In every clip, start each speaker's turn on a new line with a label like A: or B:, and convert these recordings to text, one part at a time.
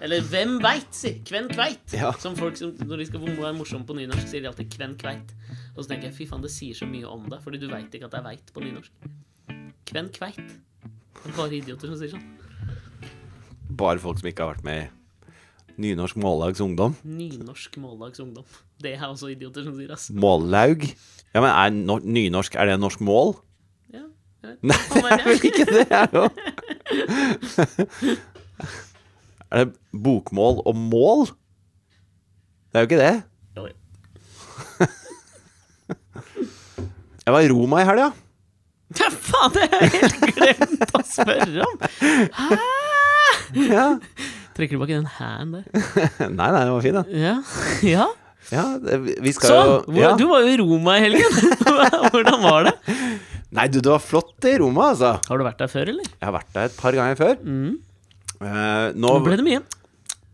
A: Eller hvem veit, si. Kven kveit.
B: Ja.
A: Som folk som, når de skal være morsomme på nynorsk, sier de alltid 'kven kveit'. Og så tenker jeg fy faen, det sier så mye om deg, fordi du veit ikke at det er veit på nynorsk. Kven kveit. Det er bare idioter som sier sånn.
B: Bare folk som ikke har vært med i Nynorsk Mållags Ungdom.
A: Nynorsk mållags ungdom. Det er også idioter som sier, ass.
B: Mållaug. Ja, men er no nynorsk Er det norsk mål?
A: Ja, jeg vet.
B: Nei,
A: Faen vet
B: det er vel
A: jeg.
B: ikke det? Er, jo. er det bokmål og mål? Det er jo ikke det.
A: Jo, jo.
B: Jeg var i Roma i helga.
A: Ja, faen, det har jeg helt glemt å spørre om! Hæ?
B: Ja.
A: Trekker tilbake den hæen der.
B: Nei, nei, den var fin, den.
A: Ja. ja.
B: Ja, det- vi skal
A: Sånn!
B: jo ja.
A: Hvor, du var jo i Roma i helgen. Hvordan var det?
B: Nei, du, det var flott i Roma, altså.
A: Har du vært der før, eller?
B: Jeg har vært der et par ganger før. Eh, nå
A: Mm. Nå ble det mye.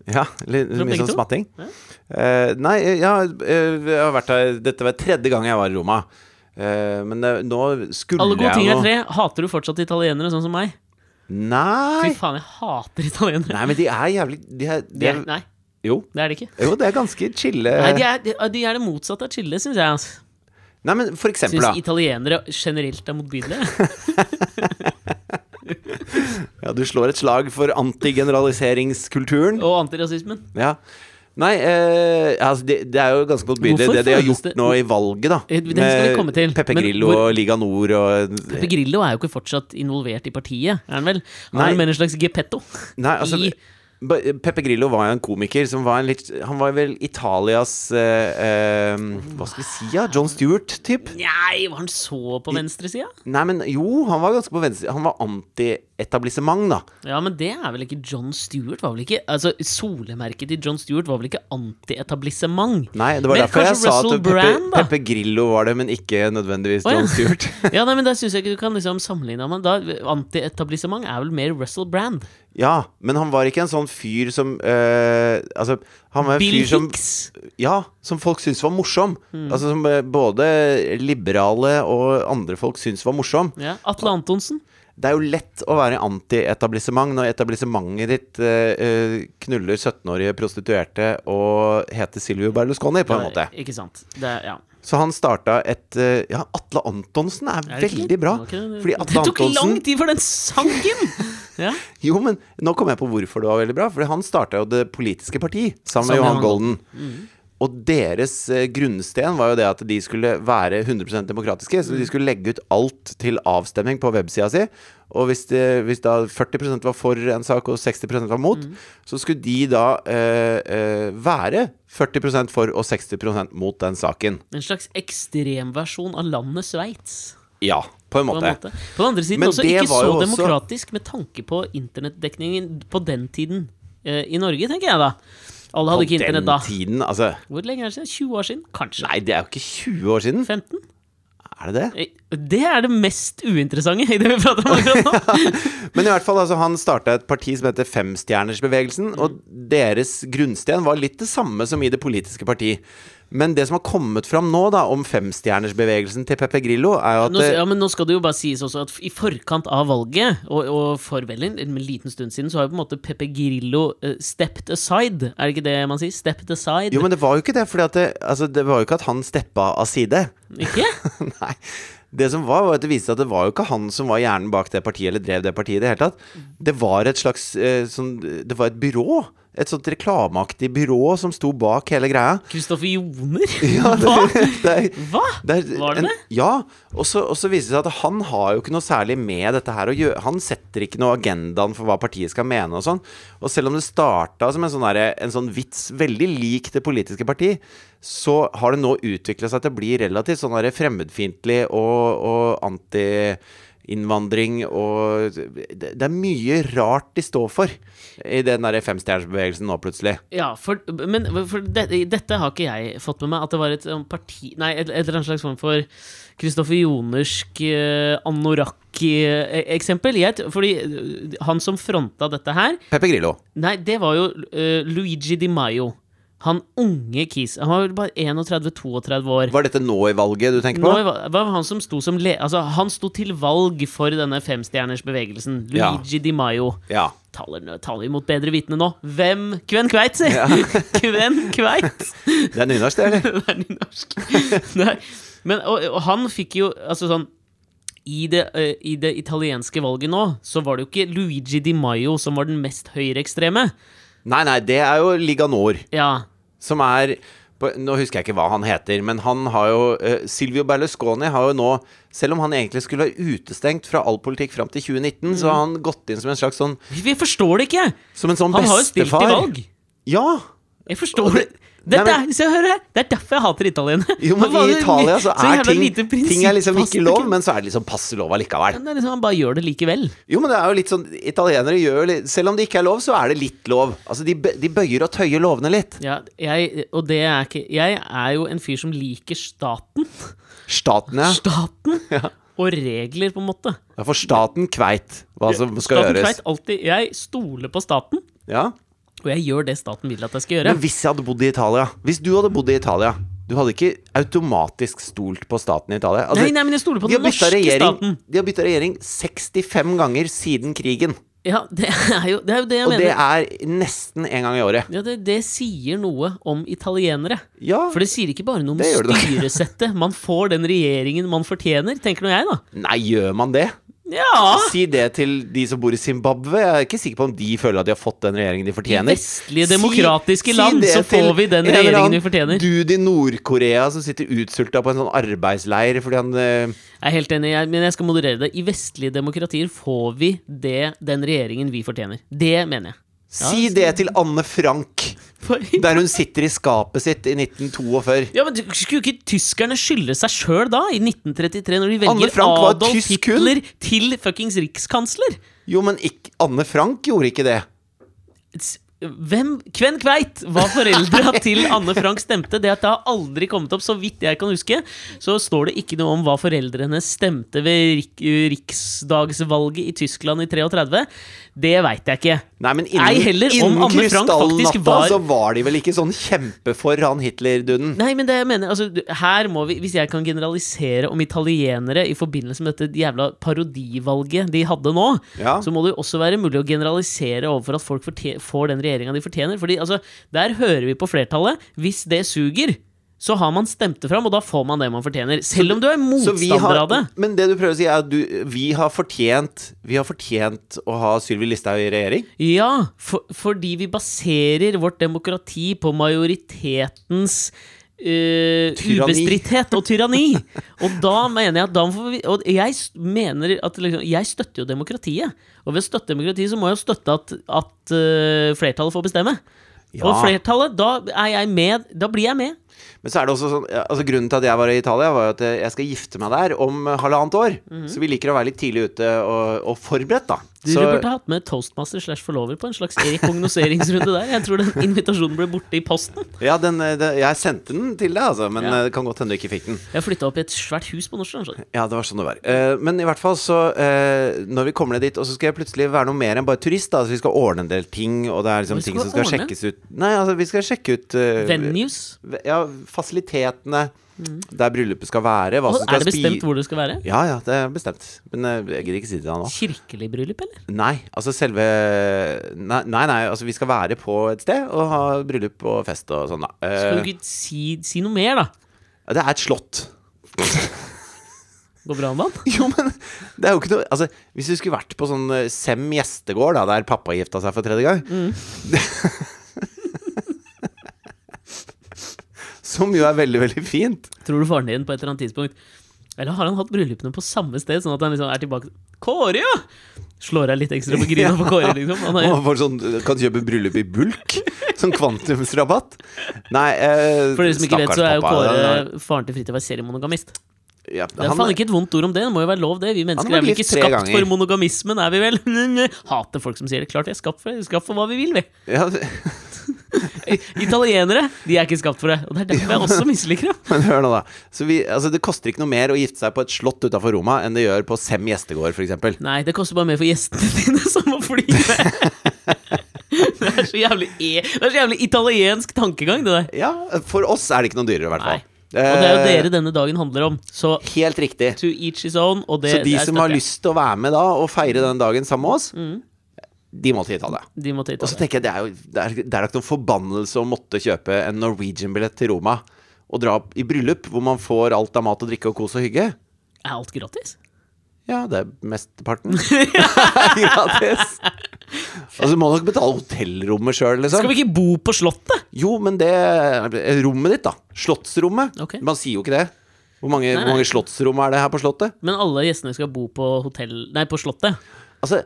B: Ja, litt
A: Fra
B: mye
A: begge
B: sånn
A: to?
B: smatting.
A: Ja.
B: Eh, nei, ja, eh, jeg har vært der Dette var tredje gang jeg var i Roma. Eh, men det, nå skulle
A: Alle gode
B: jeg
A: ting
B: nå
A: er tre. Hater du fortsatt italienere, sånn som meg? Fy
B: Nei!
A: faen, jeg hater italienere.
B: Nei, men de er jævlig De er, de
A: De
B: er
A: er, nei,
B: jo,
A: det er de ikke.
B: jo, det er ganske chille
A: Nei, de
B: Nei,
A: er, de, de er det motsatte av chille, syns jeg. Altså.
B: men for eksempel,
A: Syns
B: da.
A: italienere generelt er motbydelige.
B: Ja, du slår et slag for antigeneraliseringskulturen.
A: Og antirasismen.
B: Ja. Nei, eh, altså, det, det er jo ganske motbydelig,
A: Hvorfor
B: det de har
A: føles
B: gjort
A: det-
B: nå i valget, da.
A: Eh, det skal vi komme til,
B: Pepe
A: men
B: Grillo
A: hvor-
B: og Liga Nord og
A: Pepe Grillo er jo ikke fortsatt involvert i partiet, er han vel? Han
B: Nei.
A: er jo mer en slags gepetto.
B: Nei, altså
A: I-
B: Ba- Peppe Grillo var jo en komiker som var en litt Han var vel Italias eh, eh, Hva skal vi si, ja? John Stewart-typ?
A: Nei, var han så på venstresida?
B: Nei, men jo, han var ganske på venstre Han var anti-etablissement, da.
A: Ja, men det er vel ikke John Stewart? Var vel ikke, altså, solemerket til John Stewart var vel ikke antietablissement?
B: Nei, det var
A: Men
B: derfor
A: kanskje
B: jeg sa at
A: Russell
B: Peppe,
A: Brand, da?
B: Peppe Grillo var det, men ikke nødvendigvis
A: Å, ja.
B: John Stewart.
A: Ja, nei, men Da syns jeg ikke du kan liksom sammenligne ham. Da, Antietablissement er vel mer Russell Brand.
B: Ja, men han var ikke en sånn fyr som eh, Altså, han var en
A: Bill
B: fyr som
A: Hicks. Hmm.
B: Ja, som folk syntes var morsom. Altså som eh, både liberale og andre folk syntes var morsom.
A: Ja, Atle Antonsen.
B: Det er jo lett å være anti-etablissement når etablissementet ditt eh, eh, knuller 17-årige prostituerte og heter Silvio Berlusconi, på en måte.
A: Ja, Ikke sant. Det, er- ja.
B: Så han starta et eh, Ja, Atle Antonsen er,
A: Er det ikke
B: veldig
A: det?
B: bra.
A: Var ikke det-
B: Fordi Atle
A: Det tok lang
B: Antonsen
A: tid for den sangen! ja.
B: Jo, men nå kom jeg på hvorfor det var veldig bra. Fordi han starta jo Det politiske parti sammen med
A: Sammen med
B: Johan
A: Johan
B: Golden. Og deres eh, grunnsten var jo det at de skulle være 100 demokratiske. Så de skulle legge ut alt til avstemning på websida si. Og hvis, det- hvis da 40 var for en sak og 60 var mot, så skulle de da eh, eh, være 40 for og 60 mot den saken.
A: En slags ekstremversjon av landet Sveits.
B: Ja, på en
A: På, en
B: måte.
A: måte. på den andre siden
B: Men
A: også
B: det
A: ikke
B: var
A: så
B: jo også-
A: demokratisk med tanke på internettdekningen på den tiden eh, i Norge, tenker jeg da. Alle hadde ikke internett da.
B: den tiden, altså.
A: Hvor lenge er det siden? 20 år siden? Kanskje.
B: Nei, det er jo ikke 20 år siden.
A: 15?
B: Er det det?
A: Eh, Det er det mest uinteressante i det vi prater om akkurat nå.
B: Men i hvert fall, altså, han starta et parti som heter Femstjernersbevegelsen,
A: Mm.
B: og deres grunnsten var litt det samme som i det politiske parti. Men det som har kommet fram nå, da, om femstjernersbevegelsen til Pepe Grillo, er jo at
A: Nå,
B: eh,
A: ja, men nå skal det jo bare sies også at i forkant av valget, og, og for vel en en liten stund siden, så har jo på en måte Pepe Grillo eh, stepped aside. Er det ikke det man sier? Stepped aside?
B: Jo, men det var jo ikke det, for det, altså, det var jo ikke at han steppa av side.
A: Ikke?
B: Nei. Det som var, var at det viste seg at det var jo ikke han som var hjernen bak det partiet, eller drev det partiet i det hele tatt.
A: Mm.
B: Det var et slags eh, sånn Det var et byrå. Et sånt reklameaktig byrå som sto bak hele greia.
A: Kristoffer Joner?
B: Ja,
A: Hva?
B: det er-
A: Hva?
B: Det er
A: Var det
B: en-
A: det?
B: Ja. Og så, og så viser det seg at han har jo ikke noe særlig med dette her å gjøre. Han setter ikke noe agendaen for hva partiet skal mene og sånn. Og selv om det starta som en sånn, derre- en sånn vits veldig lik det politiske parti, så har det nå utvikla seg til å bli relativt sånn derre fremmedfiendtlig og, og anti Innvandring og Det det er mye rart de står for i den derre femstjernersbevegelsen nå, plutselig.
A: Ja, for, men for det, dette har ikke jeg fått med meg. At det var et um, parti Nei, et, et eller annet slags form for Kristoffer Jonersk eh, anorakk-eksempel. fordi eh, han som fronta dette her
B: Pepe Grillo.
A: Nei, det var jo eh, Luigi Di Maio. Han unge Kis Han var vel bare 31-32 år.
B: Var dette nå i valget du tenker
A: Nå
B: på?
A: var, var han som sto som le... Altså, han sto til valg for denne femstjernersbevegelsen.
B: Ja.
A: Luigi Di Maio.
B: Ja.
A: Taler, nå- taler vi mot bedre vitende nå? Hvem Kven kveit, sier jeg! Kven kveit!
B: Det er nynorsk, det, eller?
A: Det er nynorsk. Nei. Men, og, og han fikk jo Altså sånn i det, eh, I det italienske valget nå, så var det jo ikke Luigi Di Maio som var den mest høyreekstreme.
B: Nei, nei, det er jo Liga Nord,
A: Ja,
B: som er på, Nå husker jeg ikke hva han heter, men han har jo eh, Silvio Berlusconi har jo nå, selv om han egentlig skulle ha utestengt fra all politikk fram til 2019, så har han gått inn som en slags sånn
A: Vi forstår det ikke!
B: Som en sånn
A: Mm. Han har jo stilt
B: bestefar.
A: til valg.
B: Ja!
A: Jeg forstår
B: Og
A: det.
B: det-
A: Dette
B: Nei, men-
A: er, se, hør her. Det er derfor jeg hater italienere.
B: Jo, men
A: Hva var
B: i
A: det-
B: Italia så er
A: jævla
B: ting
A: lite
B: Ting er liksom
A: prinsippfast,
B: ikke lov,
A: ikke?
B: men så er det liksom passe lov allikevel.
A: Men det er liksom, Han bare gjør det likevel.
B: Jo, men det er jo litt sånn Italienere gjør litt Selv om det ikke er lov, så er det litt lov. Altså, de, bø- de bøyer og tøyer lovene litt.
A: Ja, jeg, og det er ikke Jeg er jo en fyr som liker staten.
B: Staten, ja.
A: Staten og regler, på en måte.
B: Ja, For staten kveit hva som skal
A: staten
B: gjøres.
A: Kveit alltid, jeg stoler på staten,
B: Ja.
A: og jeg gjør det staten vil at jeg skal gjøre.
B: Men hvis jeg hadde bodd i Italia Hvis du hadde bodd i Italia Du hadde ikke automatisk stolt på staten i Italia. Altså,
A: nei, nei, men jeg stoler på
B: de har
A: den norske
B: bytta regjering,
A: staten.
B: de har byttet regjering 65 ganger siden krigen.
A: Ja, det er jo det, er jo det jeg
B: Og det
A: mener.
B: er nesten én gang i året.
A: ja, det, det sier noe om italienere.
B: Ja,
A: For det sier ikke bare noe om
B: Det gjør det da.
A: styresettet. Man får den regjeringen man fortjener, tenker nå jeg, da.
B: Nei, gjør man det?
A: Ja!
B: Si det til de som bor i Zimbabwe. Jeg er ikke sikker på om de føler at de har fått den regjeringen de fortjener.
A: vestlige demokratiske land, så får vi den regjeringen vi fortjener.
B: Du i Nord-Korea som sitter utsulta på en sånn arbeidsleir fordi han eh,
A: Jeg er helt enig, jeg, men jeg skal moderere det. I vestlige demokratier får vi det, den regjeringen vi fortjener. Det mener jeg.
B: Si det til Anne Frank,
A: For-
B: der hun sitter i skapet sitt i 1942.
A: Ja, men du- Skulle ikke tyskerne skylde seg sjøl da, i 1933, når de
B: Anne
A: velger
B: Frank var
A: Adolf
B: tysk, hun.
A: Hitler til fuckings rikskansler?
B: Jo, men ikk, Anne Frank gjorde ikke det.
A: S- Hvem Kven kveit hva foreldra til Anne Frank stemte? Det at det har aldri kommet opp, så vidt jeg kan huske. Så står det ikke noe om hva foreldrene stemte ved rik eh, riksdagsvalget i Tyskland i 33. Det veit jeg ikke.
B: Nei,
A: Ei
B: men innen,
A: heller om
B: innen
A: Anne Frank faktisk
B: krystallnatta
A: var-
B: så var de vel ikke sånn kjempe for han Hitler-dunden.
A: Nei, men det jeg mener altså, du- Her må vi, Hvis jeg kan generalisere om italienere i forbindelse med dette jævla parodivalget de hadde nå,
B: Ja.
A: så må det jo også være mulig å generalisere overfor at folk fortje- får den regjeringa de fortjener. Fordi altså, der hører vi på flertallet. Hvis det suger, så har man stemt det fram, og da får man det man fortjener. Selv om du er
B: Så vi har-
A: motstander av det.
B: Men det du prøver å si, er at du, vi, har fortjent, vi har fortjent å ha Sylvi Listhaug i regjering?
A: Ja, for, fordi vi baserer vårt demokrati på majoritetens eh,
B: Tyranni.
A: ubestridthet og tyranni. Og da mener jeg at da får vi Og jeg s- mener at liksom, jeg støtter jo demokratiet. Og ved å støtte demokratiet så må jeg jo støtte at, at eh, flertallet får bestemme. Og
B: Ja.
A: flertallet, da er jeg med. Da blir jeg med.
B: Men så er det også sånn ja, altså Grunnen til at jeg var i Italia, var jo at jeg skal gifte meg der om eh, halvannet år. Så vi liker å være litt tidlig ute og, og forberedt, da.
A: Mhm. Du
B: Så,
A: burde hatt med toastmaster slash forlover på en slags rekognoseringsrunde der. Jeg tror den invitasjonen ble borte i posten.
B: ja, den, eh, det- jeg sendte den til deg, altså, men
A: Ja.
B: eh, det kan godt hende du ikke fikk den.
A: Jeg flytta opp i et svært hus på Nordstrand. skjønner du.
B: Ja, det var sånn det var. Eh, men i hvert fall så eh, Når vi kommer ned dit, og så skal jeg plutselig være noe mer enn bare turist, da. Så vi skal ordne en del ting, og det er
A: Hva
B: liksom ting
A: skal
B: som
A: vi
B: skal
A: ordne?
B: sjekkes ut. Nei, altså, vi skal sjekke ut eh,
A: Venues.
B: v- Ja, fasilitetene der bryllupet skal være, hva
A: Og
B: som skal
A: Mm. er det bestemt hvor det skal være?
B: Ja, ja, det er bestemt. Men eh, jeg gidder ikke si det til deg nå.
A: Kirkelig bryllup, eller?
B: Nei, altså selve Nei, nei, nei altså vi skal være på et sted og ha bryllup og fest og sånn, da. Eh,
A: Skal du ikke si, si noe mer, da?
B: det er et slott.
A: Går bra med han?
B: Jo, men det er jo ikke noe Altså, hvis du skulle vært på sånn eh, Sem gjestegård, da, der pappa gifta seg for tredje gang Som jo er veldig, veldig fint.
A: Tror du faren din på et eller annet tidspunkt Eller har han hatt bryllupene på samme sted, sånn at han liksom er tilbake Kåre, ja! Slår deg litt ekstra på grina på Kåre, liksom. Han
B: Og
A: er,
B: man får sånn, kan kjøpe bryllup i bulk. Sånn kvantumsrabatt. Nei, eh,
A: for dere som ikke vet,
B: stakkars
A: så er jo
B: pappa, han-
A: Kåre faren til Fridtjof er seriemonogamist.
B: ja,
A: Det er
B: han-
A: faen ikke et vondt ord om det, det må jo være lov, det. Vi
B: Han
A: mennesker
B: var
A: er vel
B: gift
A: ikke
B: tre
A: skapt
B: ganger.
A: for monogamismen, er vi vel? Hater folk som sier det. Klart vi er skapt for det. Vi er Skapt for hva vi vil, vi.
B: ja,
A: Italienere, de er ikke skapt for det. Og det er derfor jeg også misliker dem.
B: Men hør nå, da. Så vi, altså, det koster ikke noe mer å gifte seg på et slott utafor Roma enn det gjør på Sem gjestegård, f.eks.
A: Nei, det koster bare mer for gjestene dine som må fly med. Det Det er så jævlig, e det er så jævlig italiensk tankegang, det der.
B: Ja, for oss er det ikke noe dyrere, i hvert
A: Nei.
B: fall.
A: Og det er jo
B: Eh,
A: dere denne dagen handler om. Så
B: Helt riktig.
A: to each his own. Og det,
B: Så de
A: der
B: som
A: støtter
B: har
A: jeg.
B: lyst til å være med da og feire den dagen sammen med oss,
A: Mm.
B: de må til Italia.
A: De må til
B: Og så
A: Italia.
B: tenker jeg det er jo det er, det er da ikke noen forbannelse å måtte kjøpe en Norwegian-billett til Roma og dra i bryllup hvor man får alt av mat og drikke og kos og hygge.
A: Er alt gratis?
B: Ja, det er mesteparten. Gratis. Og så må du nok betale hotellrommet sjøl,
A: Skal
B: liksom.
A: vi ikke bo på Slottet?
B: Jo, men det Rommet ditt, da. Slottsrommet.
A: Ok.
B: Man sier jo ikke det. Hvor mange,
A: nei.
B: hvor mange slottsrom er det her på Slottet?
A: Men alle gjestene skal bo på hotell Nei, på Slottet.
B: Altså,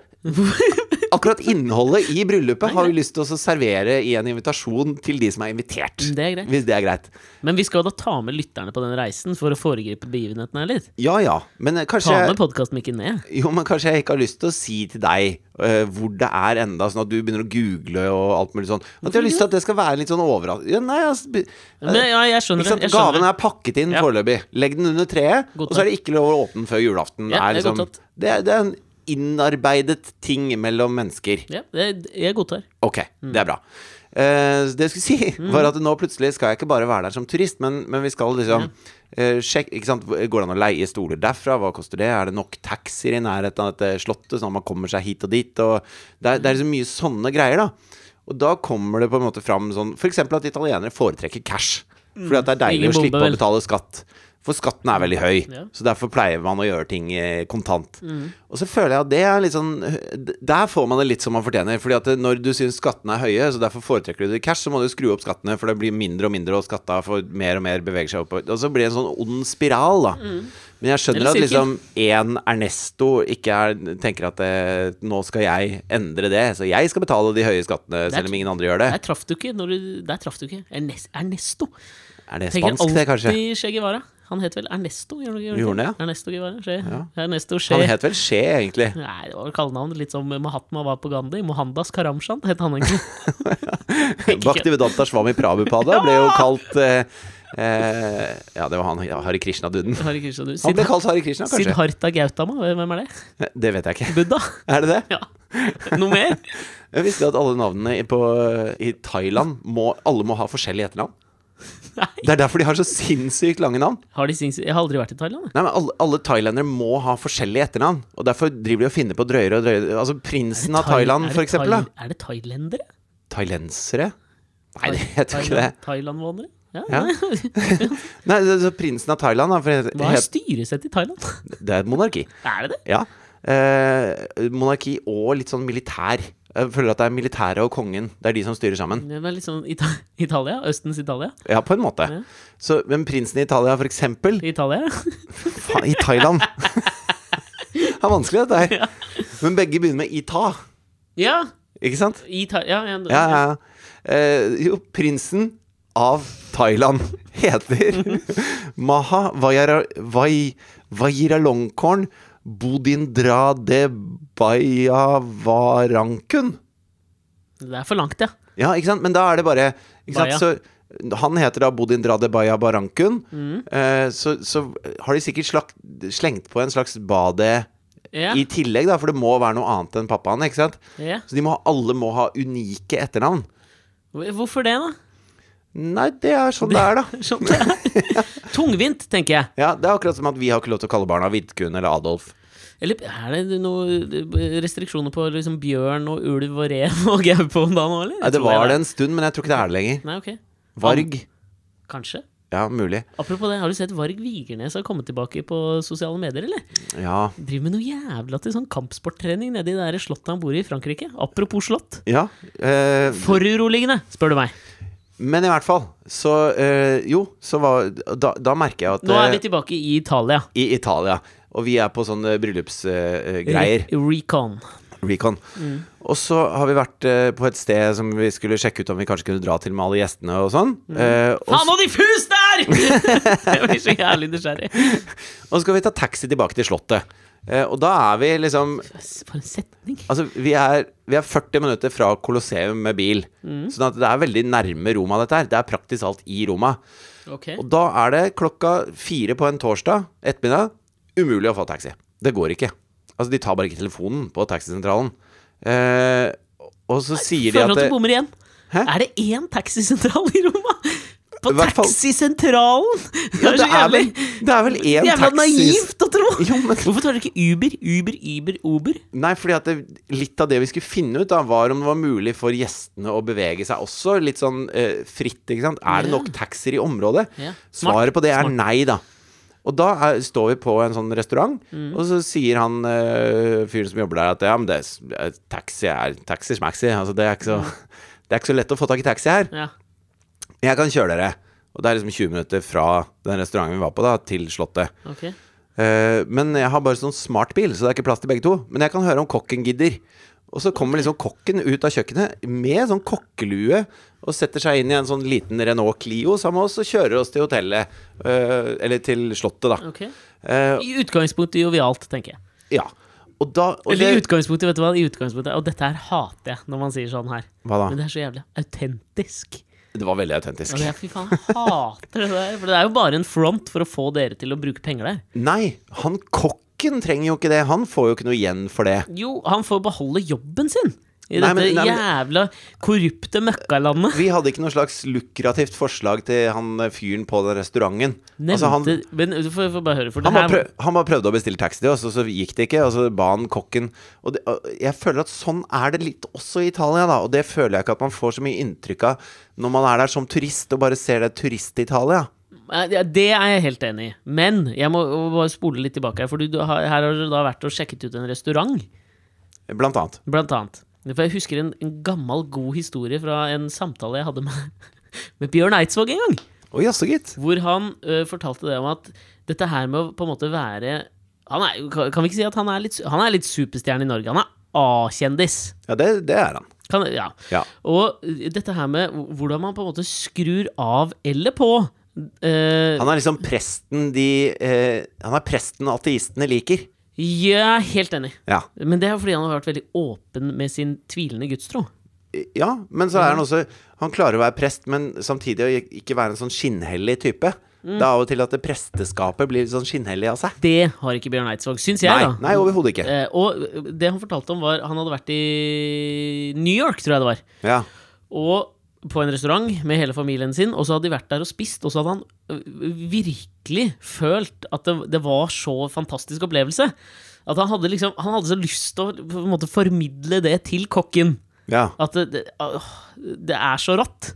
B: akkurat innholdet i bryllupet har vi lyst til å servere i en invitasjon til de som er invitert.
A: Det er greit.
B: Hvis det er greit.
A: Men vi skal da ta med lytterne på den reisen for å foregripe begivenhetene her litt.
B: Ja ja, men eh, kanskje
A: Ta med podkastmikken ned.
B: jo, men kanskje jeg ikke har lyst til å si til deg eh, hvor det er enda, sånn at du begynner å google og alt mulig sånn. At jeg har lyst til at det skal være litt sånn overraskende. Ja, nei, altså, be-
A: Men ja, jeg
B: ikke
A: skjønner det.
B: sant?
A: Jeg skjønner.
B: Gaven
A: det.
B: er pakket inn
A: Ja.
B: foreløpig. Legg den under treet,
A: Godtatt.
B: og så er det ikke lov å åpne den før julaften.
A: Ja,
B: er
A: det er
B: liksom,
A: godtatt.
B: det, er, det er en innarbeidet ting mellom mennesker.
A: Ja, det, jeg godtar.
B: Ok, det er bra. Eh, det jeg skulle si, var at nå plutselig skal jeg ikke bare være der som turist, men, men vi skal liksom eh, sjekke ikke sant? Går det an å leie stoler derfra? Hva koster det? Er det nok taxier i nærheten av dette slottet, sånn at man kommer seg hit og dit? Og det, er, det er liksom mye sånne greier, da. Og da kommer det på en måte fram sånn F.eks. at italienere foretrekker cash. Fordi at det er deilig
A: Ingen
B: å slippe
A: bombe,
B: å
A: vel?
B: betale skatt. For skatten er veldig høy,
A: Mm. Ja. Mm.
B: så derfor pleier man å gjøre ting eh, kontant. Og så føler jeg at det er litt sånn d- Der får man det litt som man fortjener. Fordi at eh, når du syns skattene er høye, så derfor foretrekker du det i cash, så må du skru opp skattene, for det blir mindre og mindre, og skatta får mer og mer beveger seg oppover. Og så blir det en sånn ond spiral, da. Men jeg skjønner
A: Mm. Eller
B: at liksom
A: sirkel.
B: én Ernesto ikke er, tenker at eh, nå skal jeg endre det, så jeg skal betale de høye skattene,
A: Det er-
B: selv om ingen andre gjør det.
A: Der traff du ikke. Når du, der traff du ikke. Ernes- Ernesto.
B: Er det
A: Tenker
B: spansk, det, kanskje?
A: alltid Che Guevara. Han het vel Ernesto? Gjør han ikke-
B: Gjorde han det, ja?
A: Ernesto Guevara. Che.
B: Ja.
A: Ernesto Che.
B: Han het vel Skje, egentlig.
A: Nei, det var vel kallenavn. Litt som Mahatma var på Gandhi. Mohandas Karamshan het han egentlig.
B: Bhaktivedanta Swami Prabhupada ble jo kalt eh, eh, Ja, det var han ja, Hare Krishna-duden.
A: Hare Krishna, du.
B: Han ble
A: Sid
B: kalt Hare Krishna, kanskje?
A: Siddhartha Gautama, hvem er det?
B: Det vet jeg ikke.
A: Buddha?
B: Er det det?
A: Ja. Noe mer?
B: Jeg visste at alle navnene i- på, i Thailand må, Alle må ha forskjellig etternavn.
A: Nei.
B: Det er derfor de har så sinnssykt lange navn.
A: Har de sing Jeg har aldri vært i Thailand. jeg.
B: Nei, men alle, alle thailendere må ha forskjellig etternavn. Og derfor driver de og finner på drøyere og drøyere Altså prinsen av
A: Thai-
B: Thailand,
A: er
B: for
A: det
B: eksempel. Da.
A: Thai- Er det thailendere?
B: Thailensere? Nei, det heter ikke det.
A: Thailand- Thailandvånere? Ja.
B: Ja. Nei, så, så prinsen av Thailand, da. For det,
A: Hva er
B: het-
A: styresett i Thailand?
B: det er et monarki.
A: Er det det?
B: Ja. Eh, monarki og litt sånn militær. Jeg føler at det er militæret og kongen. Det er de som styrer sammen.
A: Det er litt sånn Ita Italia? Østens Italia?
B: Ja, på en måte.
A: Ja.
B: Så, men prinsen i Italia, for eksempel
A: Italia?
B: Faen, I Thailand! det er vanskelig, dette her. Men begge begynner med Ita,
A: Ja!
B: ikke sant?
A: Ita ja, ja,
B: Ja, ja, ja. Eh, jo, prinsen av Thailand heter Maha Vajara, Vaj, Vajiralongkorn Bodindrade Bayavarankun.
A: Det er for langt, ja.
B: Ja, ikke sant? Men da er det bare ikke sant?
A: Baya.
B: Så, Han heter da Bodindrade Baya Barankun.
A: Mm.
B: Eh, så, så har de sikkert slakt, slengt på en slags bade
A: Ja,
B: i tillegg, da, for det må være noe annet enn pappaen. ikke sant?
A: ja.
B: Så de må, ha- alle må ha unike etternavn.
A: Hvor- Hvorfor det, da?
B: Nei, det er sånn det er, da.
A: Sånn det er. Tungvint, tenker jeg.
B: Ja, Det er akkurat som at vi har ikke lov til å kalle barna Vidkun eller Adolf.
A: Eller er det noen restriksjoner på liksom bjørn og ulv og rev og gaupe om dagen òg, eller?
B: Nei,
A: Jeg
B: det
A: tror
B: var
A: jeg
B: det en stund, men jeg tror ikke det er det lenger.
A: Nei, ok.
B: Varg.
A: Kanskje.
B: Ja, mulig.
A: Apropos det, har du sett Varg Vigernes har kommet tilbake på sosiale medier, eller?
B: Ja.
A: Driver med noe jævla til sånn kampsporttrening nede i det der slottet han bor i i Frankrike. Apropos slott.
B: ja. Eh,
A: Foruroligende, spør du meg.
B: men i hvert fall, så eh, Jo, så var Da, da merker jeg at
A: Nå er
B: eh,
A: vi tilbake i Italia.
B: i Italia. Og vi er på sånne bryllupsgreier. eh,
A: Re Recon.
B: recon. Og så har vi vært eh, på et sted som vi skulle sjekke ut om vi kanskje kunne dra til med alle gjestene og sånn. Eh, og,
A: Faen så diffus der! jeg blir så jævlig nysgjerrig.
B: s- og så skal vi ta taxi tilbake til Slottet. Eh, og da er vi liksom
A: For en setning.
B: Altså, vi er, vi er 40 minutter fra Colosseum med bil. Sånn at det er veldig nærme Roma, dette her. Det er praktisk alt i Roma.
A: Ok.
B: Og da er det klokka fire på en torsdag ettermiddag umulig å få taxi. Det går ikke. Altså, de tar bare ikke telefonen på taxisentralen. Eh, og så sier de
A: Føler
B: at
A: at du
B: det,
A: bommer igjen.
B: Hæ?
A: Er det én taxisentral i Roma? På
B: I hvert fall-
A: taxisentralen! Det
B: ja,
A: er
B: det,
A: så
B: er
A: jævlig
B: vel, det er vel én
A: Jævla
B: taxis
A: naivt å tro!
B: Jo, men-
A: Hvorfor tar dere ikke Uber, Uber, Uber, Uber?
B: Nei, fordi at det, litt av det vi skulle finne ut, da, var om det var mulig for gjestene å bevege seg også. Litt sånn eh, fritt, ikke sant. Er det
A: Ja.
B: nok taxier i området?
A: Ja. Smart.
B: Svaret på det er nei, da. Og da er, står vi på en sånn restaurant,
A: Mm.
B: og så sier han eh, fyren som jobber der, at ja, men det er, s- eh, taxi er taxi smaxi. Altså, det er ikke
A: Mm.
B: så Det er ikke så lett å få tak i taxi her.
A: Ja.
B: Jeg kan kjøre dere. Og det er liksom 20 minutter fra den restauranten vi var på, da, til Slottet.
A: Ok.
B: Eh, men jeg har bare sånn smart bil, så det er ikke plass til begge to. Men jeg kan høre om kokken gidder. Og så kommer liksom kokken ut av kjøkkenet med sånn kokkelue og setter seg inn i en sånn liten Renault Clio sammen med oss og kjører oss til hotellet. eh, eller til Slottet, da.
A: ok.
B: Eh,
A: I utgangspunktet jovialt, tenker jeg.
B: ja. Og da og
A: Eller i
B: det,
A: utgangspunktet, vet du hva. I utgangspunktet, Og dette her hater jeg, når man sier sånn her.
B: Hva
A: Men
B: da?
A: det er så jævlig autentisk.
B: Det var veldig
A: Ja,
B: autentisk.
A: det er, fy faen, jeg hater det der. For det er jo bare en front for å få dere til å bruke penger der.
B: Nei, han kokken trenger jo ikke det. Han får jo ikke noe igjen for det.
A: Jo, han får beholde jobben sin! I
B: Nei,
A: dette
B: men- nei, men-
A: jævla korrupte møkkalandet.
B: Vi hadde ikke noe slags lukrativt forslag til han eh, fyren på den restauranten.
A: Nevnte,
B: Altså, han,
A: men du får, får bare høre, for det
B: han, bare
A: her
B: prøv, han bare prøvde å bestille taxi til oss, og så gikk det ikke. Og så ba han kokken og det, og Jeg føler at sånn er det litt også i Italia, da. Og det føler jeg ikke at man får så mye inntrykk av når man er der som turist og bare ser det turist-Italia.
A: Nei, ja, Det er jeg helt enig i. Men jeg må bare spole litt tilbake. her, For du- du har, her har du da vært og sjekket ut en restaurant,
B: Blant annet.
A: blant annet. For jeg husker en, en gammel, god historie fra en samtale jeg hadde med, med Bjørn Eidsvåg en gang.
B: Å jaså, gitt.
A: Hvor han ø, fortalte det om at dette her med å på en måte være han er, jo- Kan kan vi ikke si at han er litt, su- han er litt superstjerne i Norge? Han er A-kjendis.
B: Ja, det, det er han.
A: Kan- Ja.
B: Ja.
A: Og ø, dette her med h- hvordan man på en måte skrur av eller på ø,
B: Han er liksom presten de eh, Han er presten ateistene liker.
A: Ja, helt enig.
B: Ja.
A: Men det er jo fordi han har vært veldig åpen med sin tvilende gudstro.
B: Ja, men så er han også Han klarer å være prest, men samtidig å ik- ikke være en sånn skinnhellig type. Det er av og til at det presteskapet blir sånn skinnhellig av seg.
A: Det har ikke Bjørn Eidsvåg, syns jeg,
B: Nei,
A: da.
B: nei overhodet ikke.
A: Eh, og det han fortalte om, var Han hadde vært i New York, tror jeg det var.
B: Ja.
A: Og på en restaurant med hele familien sin, og så hadde de vært der og spist, og så hadde han ø, virkelig følt at det, det var så fantastisk opplevelse. At han hadde liksom Han hadde så lyst til å på en måte formidle det til kokken.
B: ja.
A: At det, det, åh, det er så rått.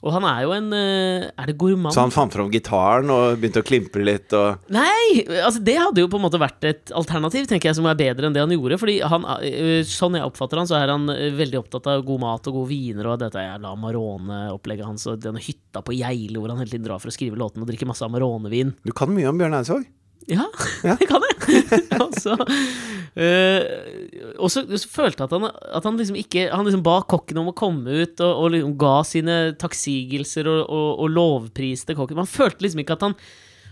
A: Og han er jo en ø, Er det gourmand?
B: Mhm. Så han fant fram gitaren og begynte å klimpre litt og
A: Nei! altså Det hadde jo på en måte vært et alternativ Tenker jeg som er bedre enn det han gjorde. Fordi han, øh, Sånn jeg oppfatter han, så er han øh, veldig opptatt av god mat og gode viner og dette jævla Amarone-opplegget hans og denne hytta på Geilo hvor han hele tiden drar for å skrive låtene og drikke masse Amarone-vin.
B: Du kan mye om Bjørn Eidsvåg.
A: Ja,
B: Ja.
A: det kan jeg! og så øh, og så så følte jeg at han, at han liksom ikke Han liksom ba kokken om å komme ut, og, og liksom ga sine takksigelser og, og, og lovpriste kokken. Man følte liksom ikke at han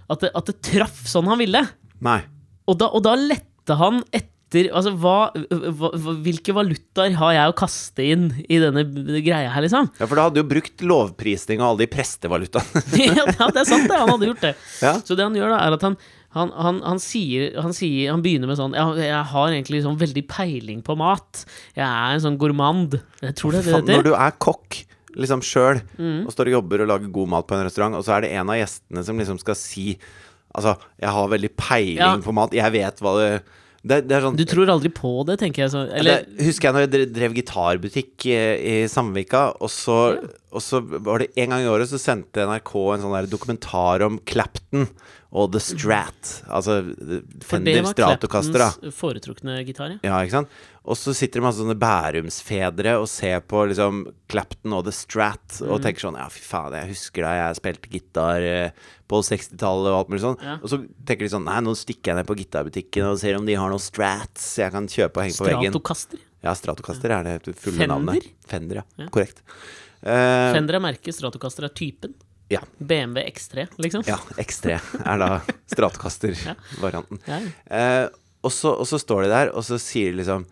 A: at det, at det traff sånn han ville.
B: Nei.
A: Og da, og da lette han etter Altså, hva, hva, hva- hvilke valutaer har jeg å kaste inn i denne b- greia her, liksom?
B: Ja, for da hadde du brukt lovprisning og alle de prestevalutaene.
A: ja, det er sant, det. Han hadde gjort det.
B: ja.
A: Så det han gjør, da, er at han han, han, han, sier, han sier Han begynner med sånn ja, Jeg har egentlig sånn veldig peiling på mat. Jeg er en sånn gourmand. Jeg tror det er det
B: Faen,
A: det heter.
B: Når du er kokk liksom sjøl
A: Mm.
B: og står og jobber og lager god mat på en restaurant, og så er det en av gjestene som liksom skal si Altså, jeg har veldig peiling
A: Ja.
B: på mat, jeg vet hva det Det, det er sånn
A: Du tror aldri på det, tenker jeg. Så, eller
B: det, husker jeg når jeg drev, drev gitarbutikk eh, i Samvika, og så, og så var det en gang i året så sendte NRK en sånn der dokumentar om Clapton og The Strat. Altså eh,
A: For det
B: Fender
A: var
B: Stratocaster, da.
A: Claptons foretrukne gitar, ja.
B: Ja, ikke sant? Og så sitter det masse sånne bærumsfedre og ser på liksom Clapton og The Strat
A: Mm.
B: og tenker sånn Ja, fy faen, jeg husker da jeg spilte gitar eh, på 60-tallet og alt mulig sånn.
A: Ja.
B: Og så tenker de sånn Nei, nå stikker jeg ned på gitarbutikken og ser om de har noen Strats jeg kan kjøpe og henge på veggen.
A: Stratocaster.
B: Ja, Stratocaster er det fulle
A: Fender?
B: navnet. Fender? Ja,
A: Ja.
B: korrekt. Eh,
A: Fender er merket, Stratocaster er typen.
B: ja,
A: BMW X3, liksom.
B: ja, X3 er da Stratocaster-varianten.
A: Ja.
B: Eh, og, så, og så står de der, og så sier de liksom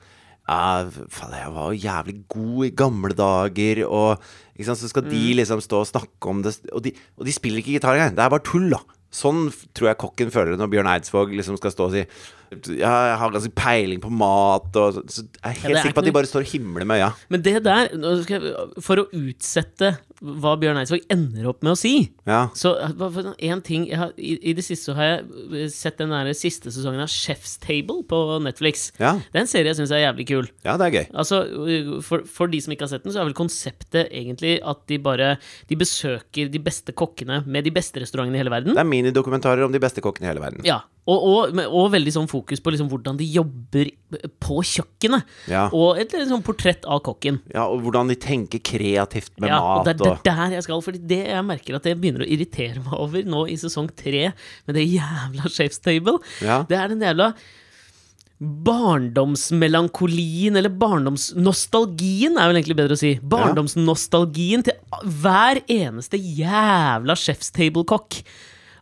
B: ja, faen, jeg var jo jævlig god i gamle dager,
A: Mm.
B: og ikke sant, så skal de liksom stå og snakke om det Og de, og de spiller ikke gitar engang, det er bare tull, da. Sånn f- tror jeg kokken føler det når Bjørn Eidsvåg liksom skal stå og si ja, jeg har ganske peiling på mat og så, så Jeg er
A: det er
B: helt sikker på at
A: ikke
B: de bare står og himler med øya.
A: Men det der, nå skal jeg, for å utsette hva Bjørn Eidsvåg ender opp med å si
B: Ja.
A: Så hva- hva- en ting jeg har, i, I det siste så har jeg eh, sett den der siste sesongen av Chef's Table på Netflix.
B: Ja.
A: Det er en serie jeg syns er jævlig kul.
B: ja, det er gøy.
A: Altså, eh, for, for de som ikke har sett den, så er vel konseptet egentlig at de bare De besøker de beste kokkene med de beste restaurantene i hele verden.
B: Det er minidokumentarer om de beste kokkene i hele verden.
A: Ja, og, og, men- og veldig sånn fokus på liksom hvordan de jobber på kjøkkenet.
B: Ja.
A: Og et litt sånn portrett av kokken.
B: Ja, og hvordan de tenker kreativt med
A: Ja, og
B: mat
A: det er det
B: og
A: er der jeg skal, Fordi det jeg merker at jeg begynner å irritere meg over nå i sesong tre, med det jævla Chef's Table,
B: Ja.
A: det er den jævla Barndomsmelankolien, eller barndomsnostalgien, er vel egentlig bedre å si. Barndomsnostalgien til a- hver eneste jævla Chef's Table-kokk.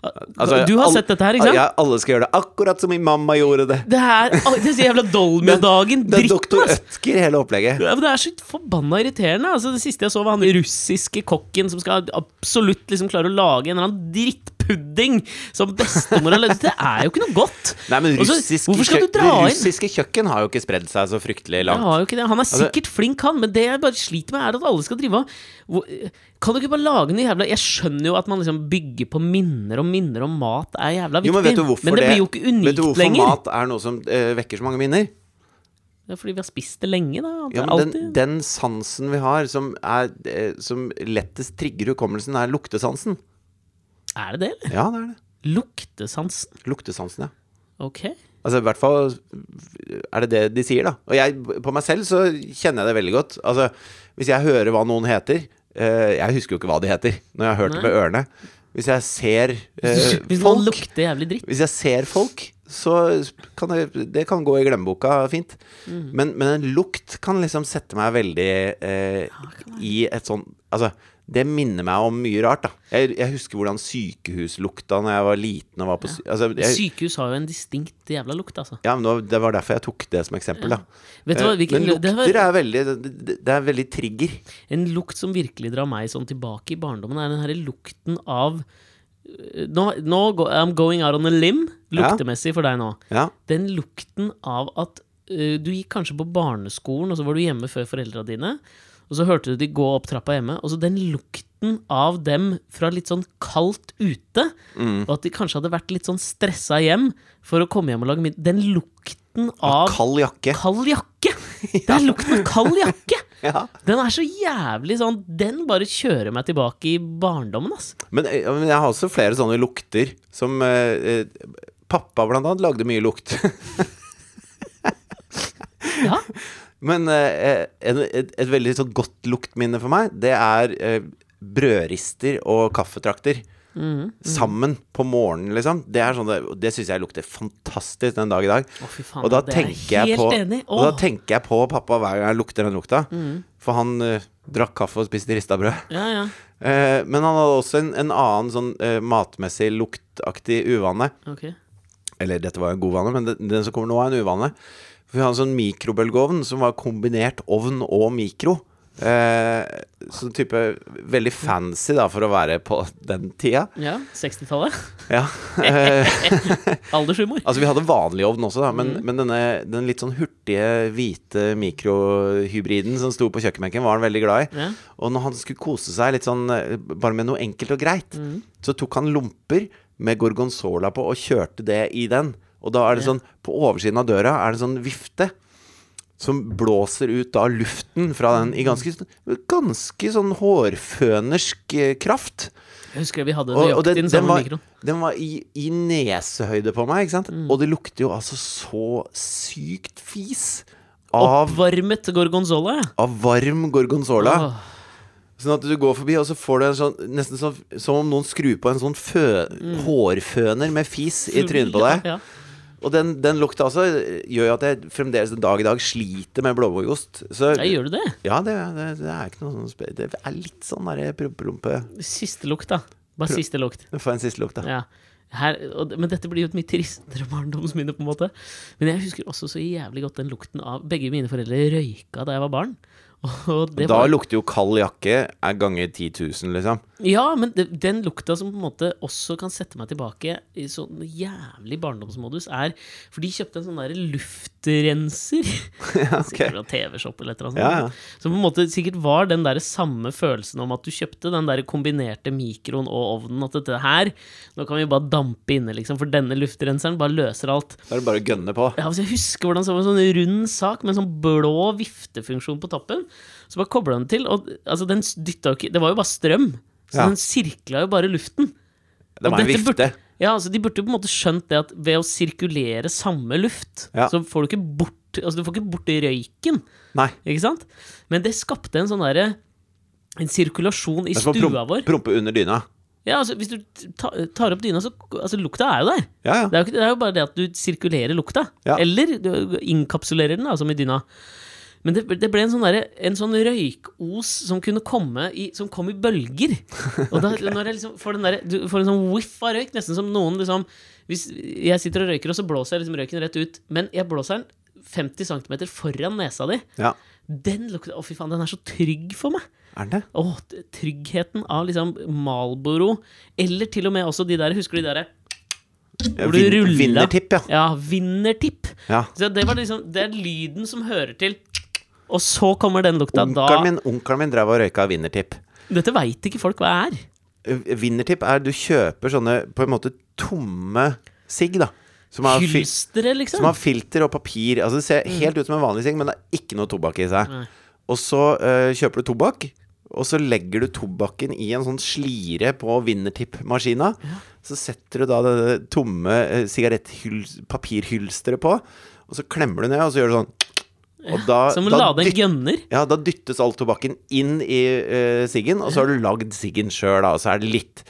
B: Altså,
A: du har
B: alle-
A: sett dette her, ikke sant?
B: Ja, alle skal gjøre det akkurat som min mamma gjorde det.
A: Det er, å, det er så jævla Dolmio-dagen.
B: Det er
A: Dritten, altså.
B: doktor
A: ass!
B: Ødker, hele opplegget.
A: Ja, men det er så forbanna irriterende. Altså, det siste jeg så, var han russiske kokken som skal absolutt liksom klare å lage en eller annen drittpudding som bestemor har lagd. Det er jo ikke noe godt!
B: Nei, men
A: Og så,
B: russiske,
A: hvorfor skal du
B: kjøk-
A: dra
B: det
A: inn?
B: russiske kjøkken har jo ikke spredd seg så fryktelig
A: Jeg
B: langt.
A: har jo ikke det. Han er
B: Altså-
A: sikkert flink, han, men det jeg bare sliter med, er at alle skal drive og hvor- Kan du ikke bare lage noe jævla Jeg skjønner jo at man liksom bygger på minner og minner om mat er jævla viktig,
B: Jo, men vet du hvorfor
A: det blir jo ikke
B: vet du
A: unikt
B: hvorfor
A: lenger.
B: mat er noe som eh, vekker så mange minner?
A: Det er fordi vi har spist det lenge, da. Det
B: Ja,
A: er
B: men den,
A: alltid-
B: den sansen vi har som, er, eh, som lettest trigger hukommelsen, er luktesansen.
A: Er det det, eller?
B: Ja, det er det.
A: Luktesansen.
B: Luktesansen, ja.
A: Ok.
B: Altså, I hvert fall er det det de sier, da. Og jeg, på meg selv så kjenner jeg det veldig godt. Altså, hvis jeg hører hva noen heter eh, Jeg husker jo ikke hva de heter når jeg har hørt det med ørene. Hvis jeg ser eh,
A: Hvis noen
B: folk
A: lukter jævlig dritt.
B: Hvis jeg ser folk, så kan det, det kan gå i glemmeboka fint. Men, men en lukt kan liksom sette meg veldig eh, i et sånn Altså, det minner meg om mye rart, da. Jeg, jeg husker hvordan sykehus lukta når jeg var liten og var på sy altså, jeg,
A: Sykehus har jo en distinkt jævla lukt, altså.
B: ja, men nå, Det var derfor jeg tok det som eksempel, da.
A: Vet du hva,
B: Eh,
A: hvilken
B: men
A: lukt, det
B: lukter
A: var
B: er veldig det, det er veldig trigger.
A: En lukt som virkelig drar meg sånn tilbake i barndommen, er den herre lukten av eh, Nå, nå go- I'm going out on a limb,
B: Ja.
A: luktemessig for deg nå.
B: Ja.
A: Den lukten av at eh, du gikk kanskje på barneskolen, og så var du hjemme før foreldra dine. Og så hørte du de gå opp trappa hjemme. Og så den lukten av dem fra litt sånn kaldt ute,
B: Mm.
A: og at de kanskje hadde vært litt sånn stressa hjem for å komme hjem og lage middag. Den lukten av
B: Kald jakke.
A: kald jakke! Det er lukten av kald jakke!
B: Ja.
A: Den er så jævlig sånn Den bare kjører meg tilbake i barndommen, ass.
B: Men, eh, men jeg har også flere sånne lukter som eh, eh, Pappa, blant annet, lagde mye lukt.
A: Ja.
B: Men eh, en, et, et veldig sånn godt luktminne for meg, det er eh, brødrister og kaffetrakter.
A: Mm-hmm.
B: Sammen på morgenen, liksom. Det, er sånn det, det syns jeg lukter fantastisk den dag i dag.
A: Å, fy faen,
B: og da
A: det er jeg
B: tenker jeg
A: helt
B: på
A: enig.
B: Og da
A: Åh. Mm-hmm.
B: tenker jeg på pappa hver gang jeg lukter den lukta. For han eh, drakk kaffe og spiste rista brød.
A: Ja, ja.
B: Eh, men han hadde også en, en annen sånn eh, matmessig luktaktig uvane.
A: Ok.
B: Eller dette var jo en god vane, men den, den som kommer nå er en uvane. For vi hadde en sånn mikrobølgeovn som var kombinert ovn og mikro. Eh, så type veldig fancy da for å være på den tida.
A: Ja, 60-tallet.
B: Ja. Eh,
A: Aldershumor.
B: altså vi hadde vanlig ovn også, da, men, men denne den litt sånn hurtige, hvite mikrohybriden som sto på kjøkkenbenken, var han veldig glad i.
A: Ja.
B: Og når han skulle kose seg litt sånn eh, bare med noe enkelt og greit,
A: Mm.
B: så tok han lomper med gorgonzola på og kjørte det i den. Og da er det
A: Ja.
B: sånn På oversiden av døra er det en sånn vifte som blåser ut da luften fra den i ganske,
A: Mm.
B: sånn- ganske sånn hårfønersk eh, kraft.
A: Jeg husker vi hadde
B: Og, og
A: nøyaktig
B: den,
A: den
B: den
A: samme
B: var,
A: mikroen.
B: den var i, i nesehøyde på meg, ikke sant?
A: Mm.
B: Og det lukter jo altså så sykt fis av,
A: Oppvarmet gorgonzola. ja.
B: av varm gorgonzola.
A: Åh.
B: Sånn at du går forbi, og så får du en sånn Nesten sånn, som om noen skrur på en sånn fø, hårføner med fis i trynet på deg.
A: Mm. Ja, ja.
B: Og den, den lukta altså gjør jo at jeg fremdeles den dag i dag sliter med blåbærost. Så
A: Ja, gjør du det?
B: ja, det, det, det er ikke noe sånn spe... Det er litt sånn derre prompelompe
A: Siste lukt, da. Bare siste lukt.
B: Få en siste lukt, da.
A: Ja. Her, og, det- men dette blir jo et mye tristere barndomsminne, på en måte. Men jeg husker også så jævlig godt den lukten av Begge mine foreldre røyka da jeg var barn. Og det
B: Da
A: var,
B: lukter jo kald jakke er ganger 10 000, liksom.
A: ja, men det- den lukta som på en måte også kan sette meg tilbake i sånn jævlig barndomsmodus, er For de kjøpte en sånn derre luftrenser. Sikkert fra TV-shop eller et eller annet.
B: Ja, ja.
A: sånt. Som på en måte sikkert var den der samme følelsen om at du kjøpte den der kombinerte mikroen og ovnen. At dette her, nå kan vi bare dampe inne, liksom. For denne luftrenseren bare løser alt.
B: Da er det bare å gønne på.
A: Ja, altså jeg husker hvordan det var en sånn rund sak med en sånn blå viftefunksjon på toppen. Så bare kobla den til, og altså, den dytta jo ikke Det var jo bare strøm. Så
B: Ja.
A: den sirkla jo bare luften.
B: Det
A: Og
B: var en
A: dette
B: vifte.
A: burde- Ja, altså De burde jo på en måte skjønt det at ved å sirkulere samme luft,
B: Ja.
A: så får du ikke bort Altså du får ikke bort røyken,
B: Nei.
A: ikke sant? Men det skapte en sånn derre En sirkulasjon i
B: Den får
A: stua
B: promp-
A: vår.
B: prompe under dyna.
A: Ja, altså Hvis du ta, tar opp dyna, så Altså, lukta er jo der.
B: Ja,
A: Det er,
B: ja.
A: jo ikke, det er jo bare det at du sirkulerer lukta.
B: Ja.
A: Eller du innkapsulerer den, da, som i dyna. Men det, det ble en sånn, derre- en sånn røykos som kunne komme i, som kom i bølger. Og da, når jeg liksom får den derre- du får en sånn whiff av røyk, nesten som noen liksom Hvis jeg sitter og røyker, og så blåser jeg liksom røyken rett ut, men jeg blåser den 50 cm foran nesa di.
B: ja.
A: Den lukter Å, fy faen, den er så trygg for meg.
B: Er den det?
A: Åh, t- tryggheten av liksom Malboro, eller til og med også de der Husker du de derre
B: Ja,
A: Hvor du
B: vin-
A: ruller.
B: Vinnertipp, ja.
A: Ja, vinnertipp.
B: ja.
A: Så det var liksom Det er lyden som hører til Og så kommer den lukta da
B: Onkelen min, onkelen min drev og røyka vinnertipp.
A: Dette veit ikke folk hva er
B: Vinnertipp er du kjøper sånne på en måte tomme sigg, da. Som har, fil
A: Hylstere liksom
B: som har filter og papir. Altså Det ser helt ut som en vanlig sigg, men det er ikke noe tobakk i seg.
A: Nei.
B: Og så eh, kjøper du tobakk, og så legger du tobakken i en sånn slire på vinnertippmaskina. Så setter du da det det tomme eh, sigaretthyl- papirhylsteret på, og så klemmer du ned, og så gjør du sånn. Og da,
A: Som å
B: da
A: lade en
B: dytter-
A: gønner
B: ja, da dyttes all tobakken inn i eh, siggen, og så har du lagd siggen sjøl, da, og så er det litt,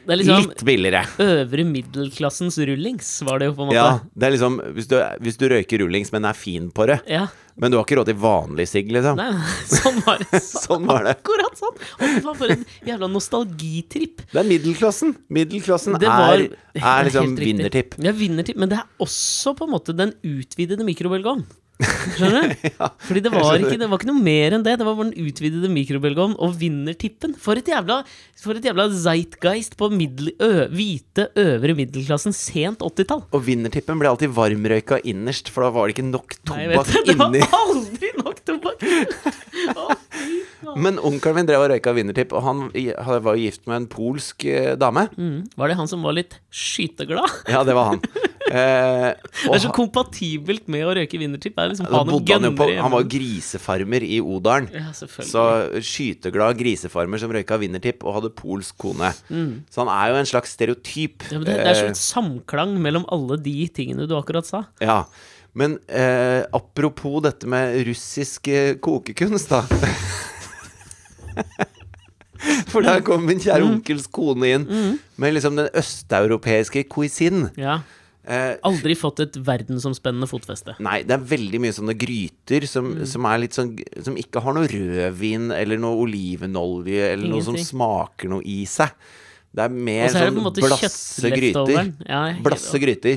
A: Det er liksom
B: litt billigere.
A: Øvre middelklassens rullings Var det jo på en måte
B: Ja, det er liksom hvis du, hvis du røyker rullings, men er fin på det,
A: Ja.
B: men du har ikke råd til vanlig sigg, liksom.
A: Nei, sånn var det
B: Sånn var det.
A: Akkurat sånn Å, fy faen, for en jævla nostalgitripp
B: Det er middelklassen. Middelklassen
A: Det var-
B: er, er liksom
A: Helt riktig.
B: vinnertipp.
A: Ja, vinnertipp Men det er også på en måte Den utvidede mikrobølgeovn Skjønner du? Fordi det var,
B: skjønner.
A: ikke, det var ikke noe mer enn det. Det var bare den utvidede mikrobølgeovnen og vinnertippen. For et jævla, for et jævla zeitgeist på middel, ø, hvite øvre middelklassen sent 80-tall.
B: Og vinnertippen ble alltid varmrøyka innerst, for da var det ikke nok
A: Nei, jeg vet
B: tobakk
A: Det
B: inni.
A: var aldri nok tobakk! Å, fy faen.
B: Men onkelen min drev og røyka vinnertipp, og han i- han var jo gift med en polsk eh, dame.
A: Mm, var det han som var litt skyteglad?
B: Ja, det var han. Eh,
A: Det
B: og
A: er så kompatibelt med å røyke vinnertipp. Det er liksom,
B: Da
A: ha noen
B: bodde han jo på
A: gønnere hjemme.
B: Han var jo grisefarmer i Odalen.
A: ja, selvfølgelig.
B: Så skyteglad grisefarmer som røyka vinnertipp og hadde polsk kone. Så han er jo en slags stereotyp.
A: Mm. ja, men det, det er sånn samklang mellom alle de tingene du akkurat sa.
B: Eh, ja. Men eh, apropos dette med russisk eh, kokekunst, da. For der kom min kjære
A: Mm.
B: onkels kone inn med liksom den østeuropeiske cuisine.
A: Ja.
B: Eh,
A: Aldri fått et verdensomspennende fotfeste.
B: Nei, det er veldig mye sånne gryter som,
A: Mm.
B: som er litt sånn Som ikke har noe rødvin eller noe olivenolje eller noe som
A: Ingenting.
B: smaker noe i seg. Det er mer
A: Og så er det
B: sånn
A: på en måte
B: blasse gryter.
A: kjøttleftoveren. Ja, jeg-
B: Blasse gryter.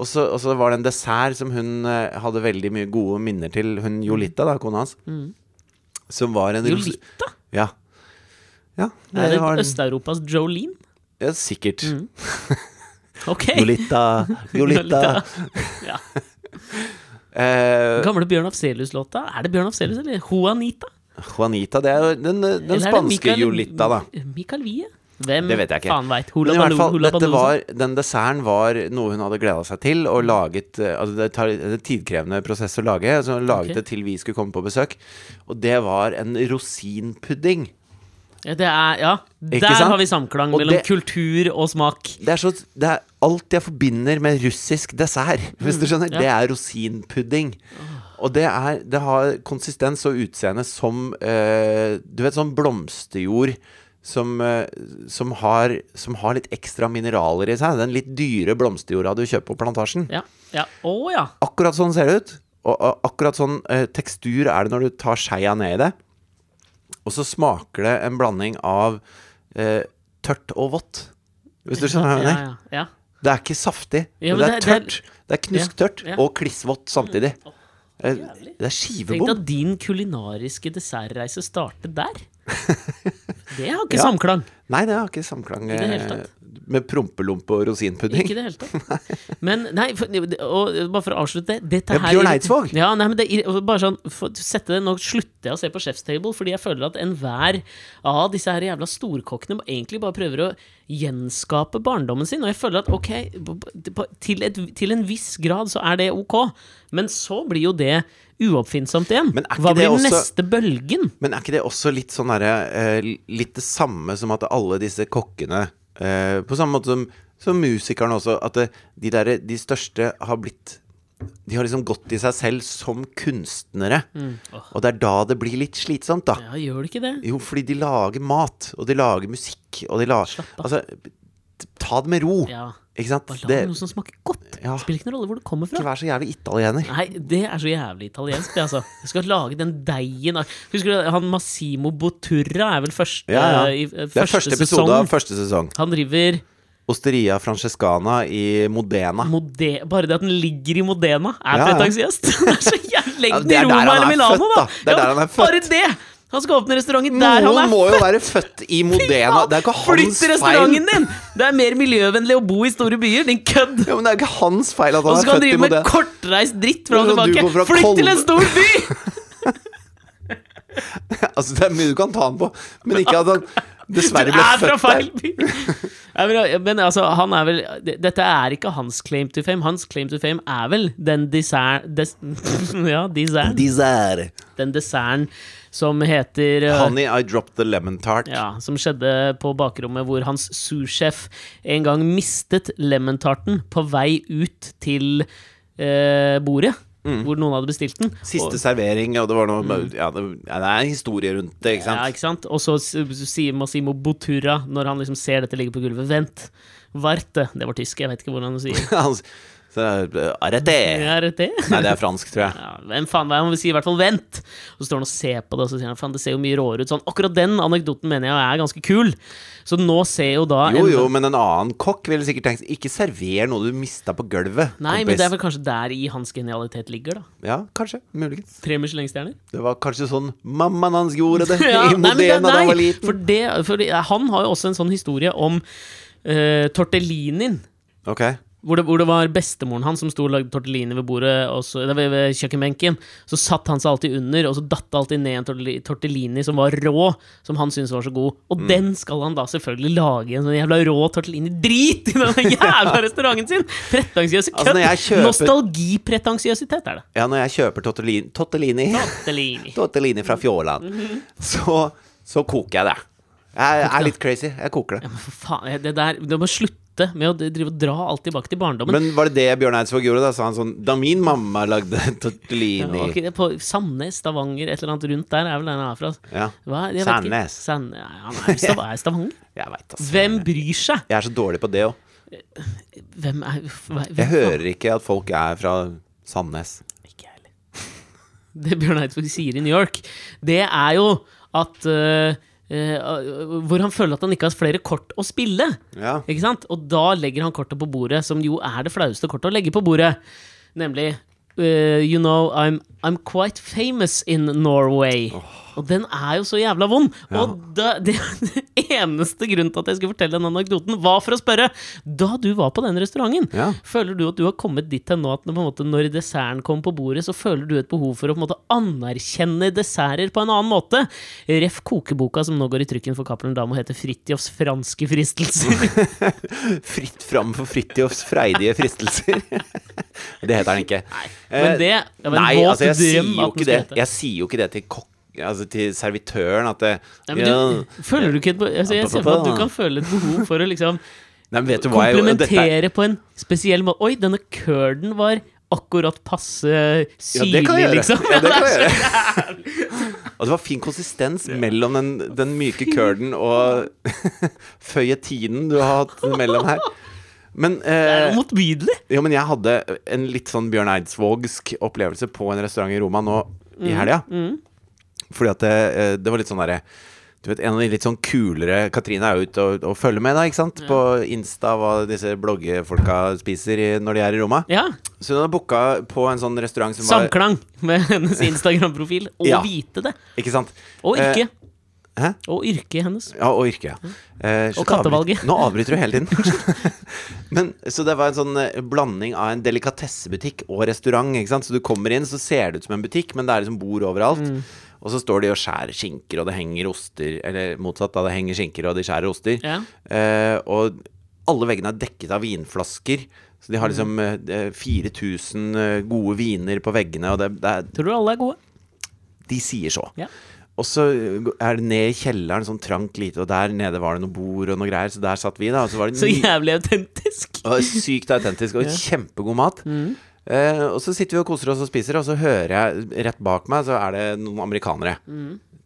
B: Og så, og så var det en dessert som hun eh, hadde veldig mye gode minner til,
A: Mm.
B: hun Jolita, da, kona hans. Som var en ros-
A: Jolita?
B: Ja. ja det,
A: Er det Mm.
B: var en,
A: Øst-Europas Jolene?
B: ja, sikkert.
A: Ok.
B: Jolita, Jolita.
A: Jolita. Ja.
B: Eh,
A: Gamle Bjørn Afselius-låta. Er det Bjørn Afselius eller Juanita?
B: Juanita, det er jo den,
A: Eller
B: den
A: er det
B: spanske
A: Mikael-
B: Jolita, da.
A: Mikael Wie? Hvem
B: Det vet jeg ikke.
A: faen veit?
B: Men i hvert fall, dette var, den desserten var noe hun hadde gleda seg til, og laget eh, Altså, det tar det er en tidkrevende prosess å lage, så hun laget
A: Ok.
B: det til vi skulle komme på besøk. Og det var en rosinpudding.
A: Ja, det er, ja.
B: Ikke
A: Der
B: sant?
A: har vi samklang
B: Og
A: mellom
B: det-
A: kultur og smak.
B: Det er, så, det er alt jeg forbinder med russisk dessert, hvis du skjønner.
A: Mm, ja.
B: Det er rosinpudding. Og det, er, det har konsistens og utseende som eh, Du vet sånn blomsterjord som, eh, som, har, som har litt ekstra mineraler i seg. Den litt dyre blomsterjorda du kjøper på plantasjen.
A: Ja. ja. Å ja.
B: Akkurat sånn ser det ut. Og, og akkurat sånn eh, tekstur er det når du tar skeia ned i det. Og så smaker det en blanding av eh, tørt og vått. Hvis du skjønner hva jeg
A: ja,
B: mener.
A: ja, ja.
B: Det er ikke saftig,
A: Ja, men
B: men det er
A: det- det er-
B: tørt. Det er knusktørt
A: Ja, ja.
B: og klissvått samtidig. Eh,
A: Jævlig.
B: Det er
A: Tenk
B: skivebom.
A: at din kulinariske dessertreise starter der. Det har ikke
B: Ja.
A: samklang.
B: Nei, det har ikke samklang
A: I det hele
B: eh,
A: tatt.
B: med prompelompe og rosinpudding.
A: Ikke i det hele tatt. Men nei, for, og, bare for å avslutte dette
B: Ja,
A: her,
B: Bjørn Eidsvåg.
A: Ja, nei, men det, er- bare sånn, for, å sette det, Nå slutter jeg å se på Chef's Table, fordi jeg føler at enhver av disse her jævla storkokkene egentlig bare prøver å gjenskape barndommen sin. Og jeg føler at ok, b- b- på- til, et, til en viss grad så er det ok, men så blir jo det uoppfinnsomt igjen.
B: Men er ikke
A: Hva
B: det
A: blir
B: også-
A: neste bølgen?
B: Men er ikke det også litt sånn derre eh, Litt det samme som at alle disse kokkene eh, På samme måte som, som musikerne også, at det, de derre De største har blitt De har liksom gått i seg selv som kunstnere.
A: Åh.
B: Og det er da det blir litt slitsomt, da.
A: Mm. Ja, gjør det ikke det?
B: Jo, fordi de lager mat, og de lager musikk, og de lager
A: Slapp av.
B: Altså, t- ta det med ro.
A: Ja,
B: Ikke sant?
A: Bare lag
B: Det,
A: noe som smaker godt.
B: Ja.
A: Spiller ikke noen rolle hvor det kommer fra.
B: ikke vær så jævlig italiener.
A: Nei, det er så jævlig italiensk, det, altså. Du skal lage den deigen av- Husker du han Massimo Boturra er vel første,
B: Ja, ja.
A: i- eh,
B: Det er
A: første
B: første episode av første sesong.
A: Han driver
B: Osteria Francescana i Modena.
A: Mode... Bare det at den ligger i Modena, er
B: Ja, ja.
A: pretensiøst! Det er så jævlig
B: Ja,
A: lengden
B: det er
A: i
B: der han
A: Roma eller
B: er
A: Milano, da!
B: født, da. Det er
A: Ja,
B: der han er
A: Bare det! Han skal åpne restauranten der
B: Noen
A: han er!
B: må jo være født i Modena. Det er ikke hans
A: Flytt
B: feil.
A: restauranten din! Det er mer miljøvennlig å bo i store byer, din kødd!
B: Ja, men det er ikke hans feil at
A: Og
B: han
A: så
B: er
A: skal han
B: født i
A: drive med
B: Modena.
A: kortreist dritt fram
B: Men
A: og
B: når du
A: tilbake!
B: går fra
A: Flytt til
B: Kolbe-
A: en stor by!
B: Altså, det er mye du kan ta han på, men ikke at han dessverre
A: Du
B: ble
A: er fra
B: født
A: feil
B: der.
A: by! Nei, men, men altså, han er vel det- Dette er ikke hans claim to fame. Hans claim to fame er vel den dessert... Des, ja, dessert.
B: Dessert.
A: Den desserten som heter eh,
B: Honey, I dropped the lemon tart.
A: ja, Som skjedde på bakrommet, hvor hans souschef en gang mistet lemontarten på vei ut til eh, bordet. Hvor noen hadde bestilt den.
B: Mm. Siste servering, og det var noe ja, det, ja, det er en historie rundt det,
A: Mm. Ja,
B: ikke sant?
A: ikke sant? Og så s- sier Massimo Bottura, når han liksom ser dette ligge på gulvet, vent, varte, det var tysk, jeg vet ikke hvordan han sier
B: Han s- så, eh, Arrêté!
A: Er det det?
B: Nei, det er fransk, tror jeg.
A: Ja, hvem faen hva er det han vil si? I hvert fall vent! Og så står han og ser på det, og så sier han faen, det ser jo mye råere ut. Sånn, akkurat den anekdoten mener jeg er ganske kul. Så nå ser jo da
B: Jo
A: en-
B: jo, men en annen kokk ville sikkert tenkt Ikke server noe du mista på gulvet,
A: Nei, men
B: kompis.
A: det er vel kanskje der i hans genialitet ligger, da.
B: Ja, kanskje. Muligens.
A: Tre Michelin-stjerner.
B: Det var kanskje sånn mammaen hans gjorde det
A: Ja,
B: i
A: nei, men det-
B: Modena da han var
A: nei,
B: liten.
A: for det, for det- han har jo også en sånn historie om eh, tortellinien.
B: Ok,
A: Hvor det, hvor det var bestemoren hans som sto og lagde tortellini ved bordet og så, nei, ved, ved kjøkkenbenken. Så satt han seg alltid under, og så datt det alltid ned en tortelli- tortellini som var rå. Som han syntes var så god.
B: Mm.
A: Og den skal han da selvfølgelig lage i en sånn jævla rå tortellini. Drit i den jævla restauranten sin! Pretensiøse
B: Altså,
A: kødd!
B: når jeg kjøper-
A: Nostalgipretensiøsitet er det.
B: ja, når jeg kjøper tortellini, tortellini,
A: Tortellini.
B: tortellini fra Fjåland,
A: Mhm.
B: så, så koker jeg det. Jeg er litt crazy. Jeg koker det.
A: For faen, det der Du må slutte med å drive og dra alt tilbake til barndommen.
B: Men var det det Bjørn Eidsvåg gjorde? Da sa han sånn Da min mamma lagde
A: Ja,
B: tortellini
A: ok, det er på Sandnes, Stavanger, et eller annet rundt der er vel den herfra.
B: Ja.
A: Hva? Jeg vet ikke.
B: Sandnes.
A: Sand... Ja, han er i Stav- er i Stavanger.
B: Jeg veit, altså.
A: Hvem bryr seg?
B: Jeg er så dårlig på det òg.
A: Hvem er hva- hvem,
B: Jeg hører ikke at folk er fra Sandnes.
A: Ikke jeg heller. Det Bjørn Eidsvåg sier i New York, det er jo at øh, øh, Hvor han føler at han ikke har flere kort å spille.
B: Ja.
A: Ikke sant? Og da legger han kortet på bordet, som jo er det flaueste kortet å legge på bordet. Nemlig øh, You know, I'm, I'm quite famous in Norway. Og den er jo så jævla vond! Og da, det, det eneste grunnen til at jeg skulle fortelle den anekdoten, var for å spørre. Da du var på den restauranten,
B: Ja.
A: føler du at du har kommet dit hen nå at på en måte, når desserten kommer på bordet, så føler du et behov for å på en måte anerkjenne desserter på en annen måte? Ref kokeboka som nå går i trykken for Cappelen Dam og heter Fridtjofs franske fristelser.
B: Fritt fram for Fridtjofs freidige fristelser. det heter han ikke.
A: Men det det var en
B: Eh, Nei,
A: våt
B: altså, jeg sier
A: drøm at den
B: jo ikke
A: skulle
B: det.
A: hete.
B: Jeg sier jo ikke det til kokk... Altså til servitøren at eh,
A: Nei,
B: det
A: men du, føler du ikke et be- altså, Jeg ser for meg at du kan føle et behov for å liksom
B: Nei, men vet du hva jeg dette er-
A: komplementere på en spesiell måte. Oi, denne curden var akkurat passe
B: Ja,
A: syrlig,
B: det kan jeg gjøre.
A: liksom.
B: Ja, det kan jeg gjøre. Og det var fin konsistens mellom den, den myke curden og føyetinen du har hatt mellom her. Men
A: Det er
B: eh,
A: jo motbydelig.
B: Jo, men jeg hadde en litt sånn Bjørn Eidsvågsk opplevelse på en restaurant i Roma nå i helga. Fordi at det, eh, det var litt sånn derre du vet, en av de litt sånn kulere Katrine er jo ute og, og følger med, da, ikke sant? På Insta hva disse bloggefolka spiser i, når de er i Roma.
A: Ja.
B: Så hun hadde booka på en sånn restaurant som var
A: Samklang med hennes Instagram-profil. Og
B: Ja.
A: vite det.
B: Ikke sant?
A: Og yrke.
B: Eh, hæ?
A: Og yrket hennes.
B: Ja, og yrke, ja. Eh,
A: Mm. Og
B: slutt å
A: kattevalget.
B: avbryte. Nå avbryter du hele tiden. Men, så det var en sånn eh, blanding av en delikatessebutikk og restaurant. Ikke sant? Så du kommer inn, så ser det ut som en butikk, men det er liksom bord overalt.
A: Mm.
B: Og så står de og skjærer skinker, og det henger oster Eller motsatt, da. Det henger skinker, og de skjærer oster.
A: Ja.
B: Eh, og alle veggene er dekket av vinflasker. Så de
A: Mm.
B: har liksom eh, eh, 4000 eh, gode viner på veggene, og det, det er
A: Tror du alle er gode?
B: de sier så.
A: Ja.
B: Og så eh, er det ned i kjelleren, sånn trangt lite, og der nede var det noe bord og noe greier, så der satt vi, da. Og så var det
A: Så
B: ny-
A: jævlig autentisk.
B: og det var sykt autentisk og kjempegod mat. Eh, og så sitter vi og koser oss og spiser, og så hører jeg rett bak meg, så er det noen amerikanere.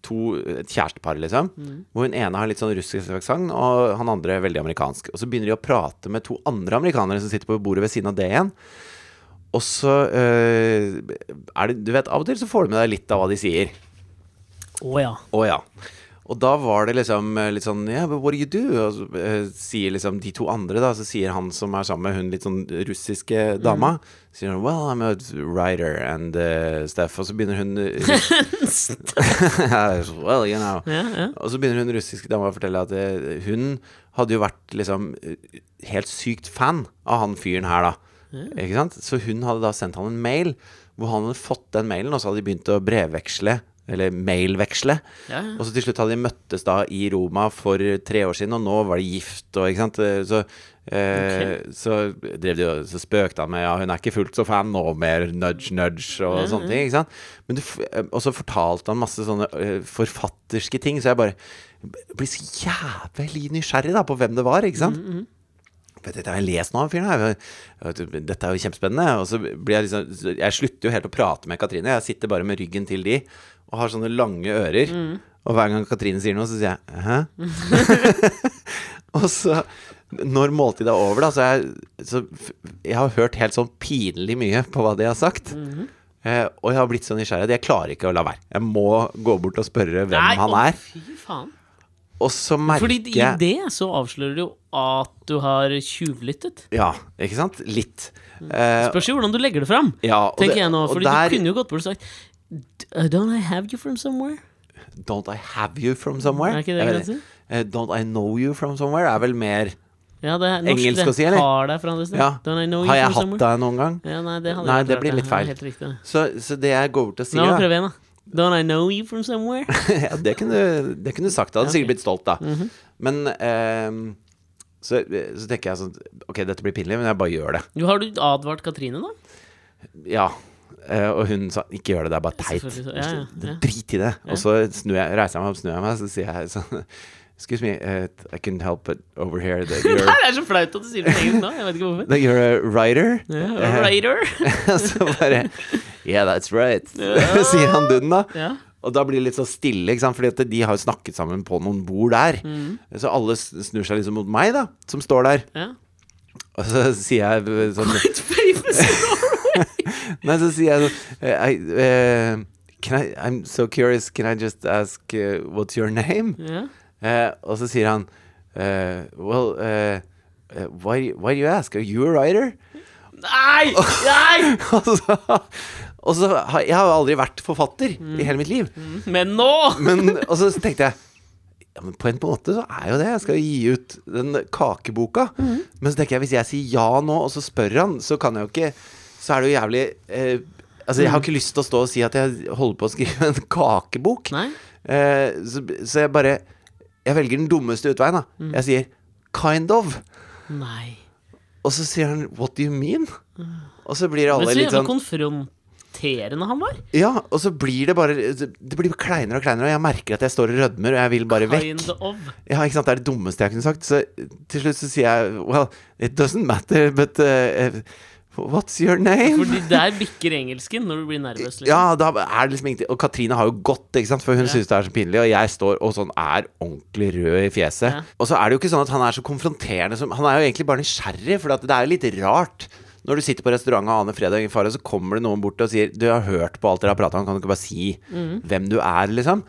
B: To, et kjærestepar, liksom. Hvor hun ene har litt sånn russisk aksent, og han andre er veldig amerikansk. Og så begynner de å prate med to andre amerikanere som sitter på bordet ved siden av det igjen. Og så eh, er det Du vet, av og til så får du med deg litt av hva de sier.
A: Å ja.
B: Å ja. Og da var det liksom eh, litt sånn Yeah, but what do you do? Og så eh, sier liksom de to andre, da, så sier han som er sammen med hun litt sånn russiske
A: Mm.
B: dama Sier hun Well, I'm a writer and uh, stuff. Og så begynner hun eh, Well, you know.
A: ja, ja.
B: Og så begynner hun russiske dama å fortelle at eh, hun hadde jo vært liksom eh, helt sykt fan av han fyren her, da. Ikke sant? Så hun hadde da sendt han en mail, hvor han hadde fått den mailen, og så hadde de begynt å brevveksle, eller mailveksle.
A: Ja, ja.
B: Og så til slutt hadde de møttes da i Roma for tre år siden, og nå var de gift, og ikke sant. Eh, Så, eh, så, drev de, og- så spøkte han med ja, hun er ikke fullt så fan nå mer, nudge, nudge, og sånne ting. ikke sant? Men du, f- eh, og så fortalte han masse sånne eh, forfatterske ting, så jeg bare blir så jævlig nysgjerrig da på hvem det var, ikke sant? Vet du, Dette har jeg lest nå, han fyren her. Jeg vet, Dette er jo kjempespennende. Og så blir jeg liksom så Jeg slutter jo helt å prate med Katrine. Jeg sitter bare med ryggen til de og har sånne lange ører.
A: Mm.
B: Og hver gang Katrine sier noe, så sier jeg hæ? og så, når måltidet er over, da, så, er jeg, så f- Jeg har hørt helt sånn pinlig mye på hva de har sagt.
A: Mhm.
B: eh, og jeg har blitt så nysgjerrig at jeg klarer ikke å la være. Jeg må gå bort og spørre hvem
A: Nei,
B: han
A: å,
B: er.
A: Fy faen.
B: Og så merker
A: Fordi i
B: jeg
A: det så avslører du jo at du har tjuvlyttet.
B: Ja, ikke sant? Litt.
A: Mm.
B: Eh,
A: Spørs jo hvordan du legger det fram.
B: Ja, og
A: Tenker
B: det-
A: jeg nå,
B: og
A: fordi
B: der-
A: du kunne jo gått bort og sagt "D- uh, Don't I have you from somewhere?
B: Don't I have you from somewhere?
A: Er ikke det
B: Jeg vet
A: grensen?
B: Eh, Don't I know you from somewhere er vel mer
A: Ja, det er norsk,
B: Engelsk
A: det.
B: å si, eller?
A: Har deg fra andre steder.
B: Ja.
A: Don't I know you
B: Har jeg
A: from
B: hatt
A: somewhere?
B: deg noen gang?
A: Ja, nei, det, hadde
B: Nei,
A: ikke
B: det
A: vært
B: blir litt
A: Ja,
B: feil.
A: Helt riktig. det.
B: Så, så det jeg går bort og
A: Nå
B: sier, da,
A: prøver jeg igjen, da. Don't I know you from somewhere?
B: ja, det, kunne, du- det kunne du sagt. Da hadde du sikkert blitt stolt, da.
A: Mhm.
B: Men ehm, så, så tenker jeg sånn Ok, dette blir pinlig, men jeg bare gjør det.
A: Jo, har du advart Katrine, da?
B: Ja. Eh, og hun sa ikke gjør det, det er bare teit.
A: Selvfølgelig, så- ja, ja, ja.
B: Drit i det. Og så snur jeg, reiser jeg meg opp, snur jeg meg, så sier jeg sånn Excuse me, eh, I couldn't help it over here. That
A: Det
B: you're,
A: her er så flaut at du sier det på engelsk nå. Jeg vet ikke hvorfor.
B: that you're a writer. Eh.
A: Ja, writer.
B: Og så bare Yeah, that's right. Sier han dunnen, da.
A: Ja.
B: Og da blir det litt så stille, ikke sant? Fordi at de har jo snakket sammen på noen bord der. Så alle s- snur seg liksom mot meg, da, som står der.
A: ja.
B: Og så sier jeg eh, sånn
A: Quite famous in Norway.
B: Nei, så sier jeg sånn eh, I, eh, can I, I'm so curious, can I just ask eh, what's your name?
A: Ja.
B: Eh, og så sier han eh, Well, eh, eh, why, why do you ask? Are you a writer?
A: Nei! Nei!
B: og så, og så har, Jeg har jo aldri vært forfatter i hele mitt liv.
A: Men nå!
B: Men, og så tenkte jeg ja, men på en måte så er jo det. Jeg skal jo gi ut den kakeboka.
A: Mhm.
B: Men så tenker jeg, hvis jeg sier ja nå, og så spør han, så kan jeg jo ikke Så er det jo jævlig eh, Altså, jeg har
A: Mhm.
B: ikke lyst til å stå og si at jeg holder på å skrive en kakebok.
A: Nei.
B: Eh, så, så jeg bare Jeg velger den dummeste utveien, da.
A: Mhm.
B: Jeg sier kind of.
A: Nei.
B: Og så sier han what do you mean? Og så blir alle
A: Men så
B: litt
A: jævla
B: sånn
A: konfronterende han var.
B: Ja, og så blir det bare Det blir kleinere og kleinere, og jeg merker at jeg står og rødmer, og jeg vil bare vekk.
A: Kind of.
B: Ja, ikke sant? Det er det dummeste jeg kunne sagt. Så til slutt så sier jeg Well, it doesn't matter, but uh, uh, what's your name?
A: Fordi der bikker engelsken når du blir nervøs. Liksom.
B: Ja, da er det liksom ingenting Og Katrine har jo gått, ikke sant? for hun synes det er så pinlig. Og jeg står og sånn er ordentlig rød i fjeset.
A: Ja.
B: Og så er det jo ikke sånn at han er så konfronterende som Han er jo egentlig bare nysgjerrig, for det er jo litt rart. Når du sitter på restaurant og aner fredag i fare,
A: Mm.
B: så kommer det noen bort og sier Du jeg har hørt på alt dere har prata om, kan du ikke bare si hvem du er, liksom?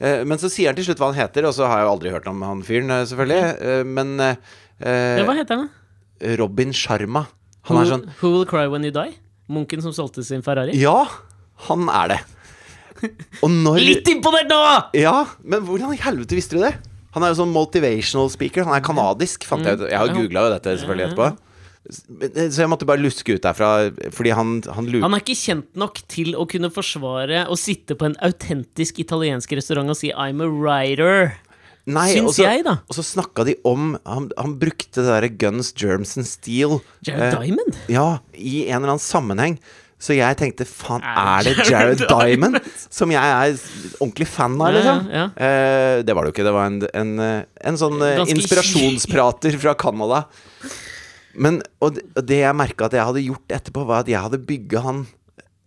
B: Eh, Men så sier han til slutt hva han heter, og så har jeg jo aldri hørt om han fyren, eh, selvfølgelig.
A: Mm.
B: Eh, Men eh, eh,
A: Ja, hva heter han? da?
B: Robin Sharma. Han
A: Who,
B: er sånn
A: who Will Cry When You Die? Munken som solgte sin Ferrari?
B: Ja, han er det. Og når
A: Litt imponert nå!
B: Ja, men hvordan i helvete visste du det? Han er jo sånn motivational speaker. Han er kanadisk, fant jeg ut. Jeg har jo googla jo dette selvfølgelig etterpå. Men, eh, Så jeg måtte bare luske ut derfra, fordi han, han lurer
A: Han er ikke kjent nok til å kunne forsvare å sitte på en autentisk italiensk restaurant og si 'I'm a writer'.
B: Nei,
A: Syns
B: og så,
A: jeg, da.
B: Og så snakka de om Han, han brukte det derre Guns, Germs and Steel
A: Jared
B: eh,
A: Diamond?
B: Ja, i en eller annen sammenheng. Så jeg tenkte faen,
A: Er
B: er
A: det
B: det Jared
A: Jared
B: Diamond? Som jeg er ordentlig fan
A: Ja,
B: av,
A: ja,
B: liksom.
A: ja.
B: Eh, det var det jo ikke. Det var en, en, eh, en sånn eh,
A: Ganske
B: inspirasjonsprater fra Canada. Men og det, og det jeg merka at jeg hadde gjort etterpå, var at jeg hadde bygga han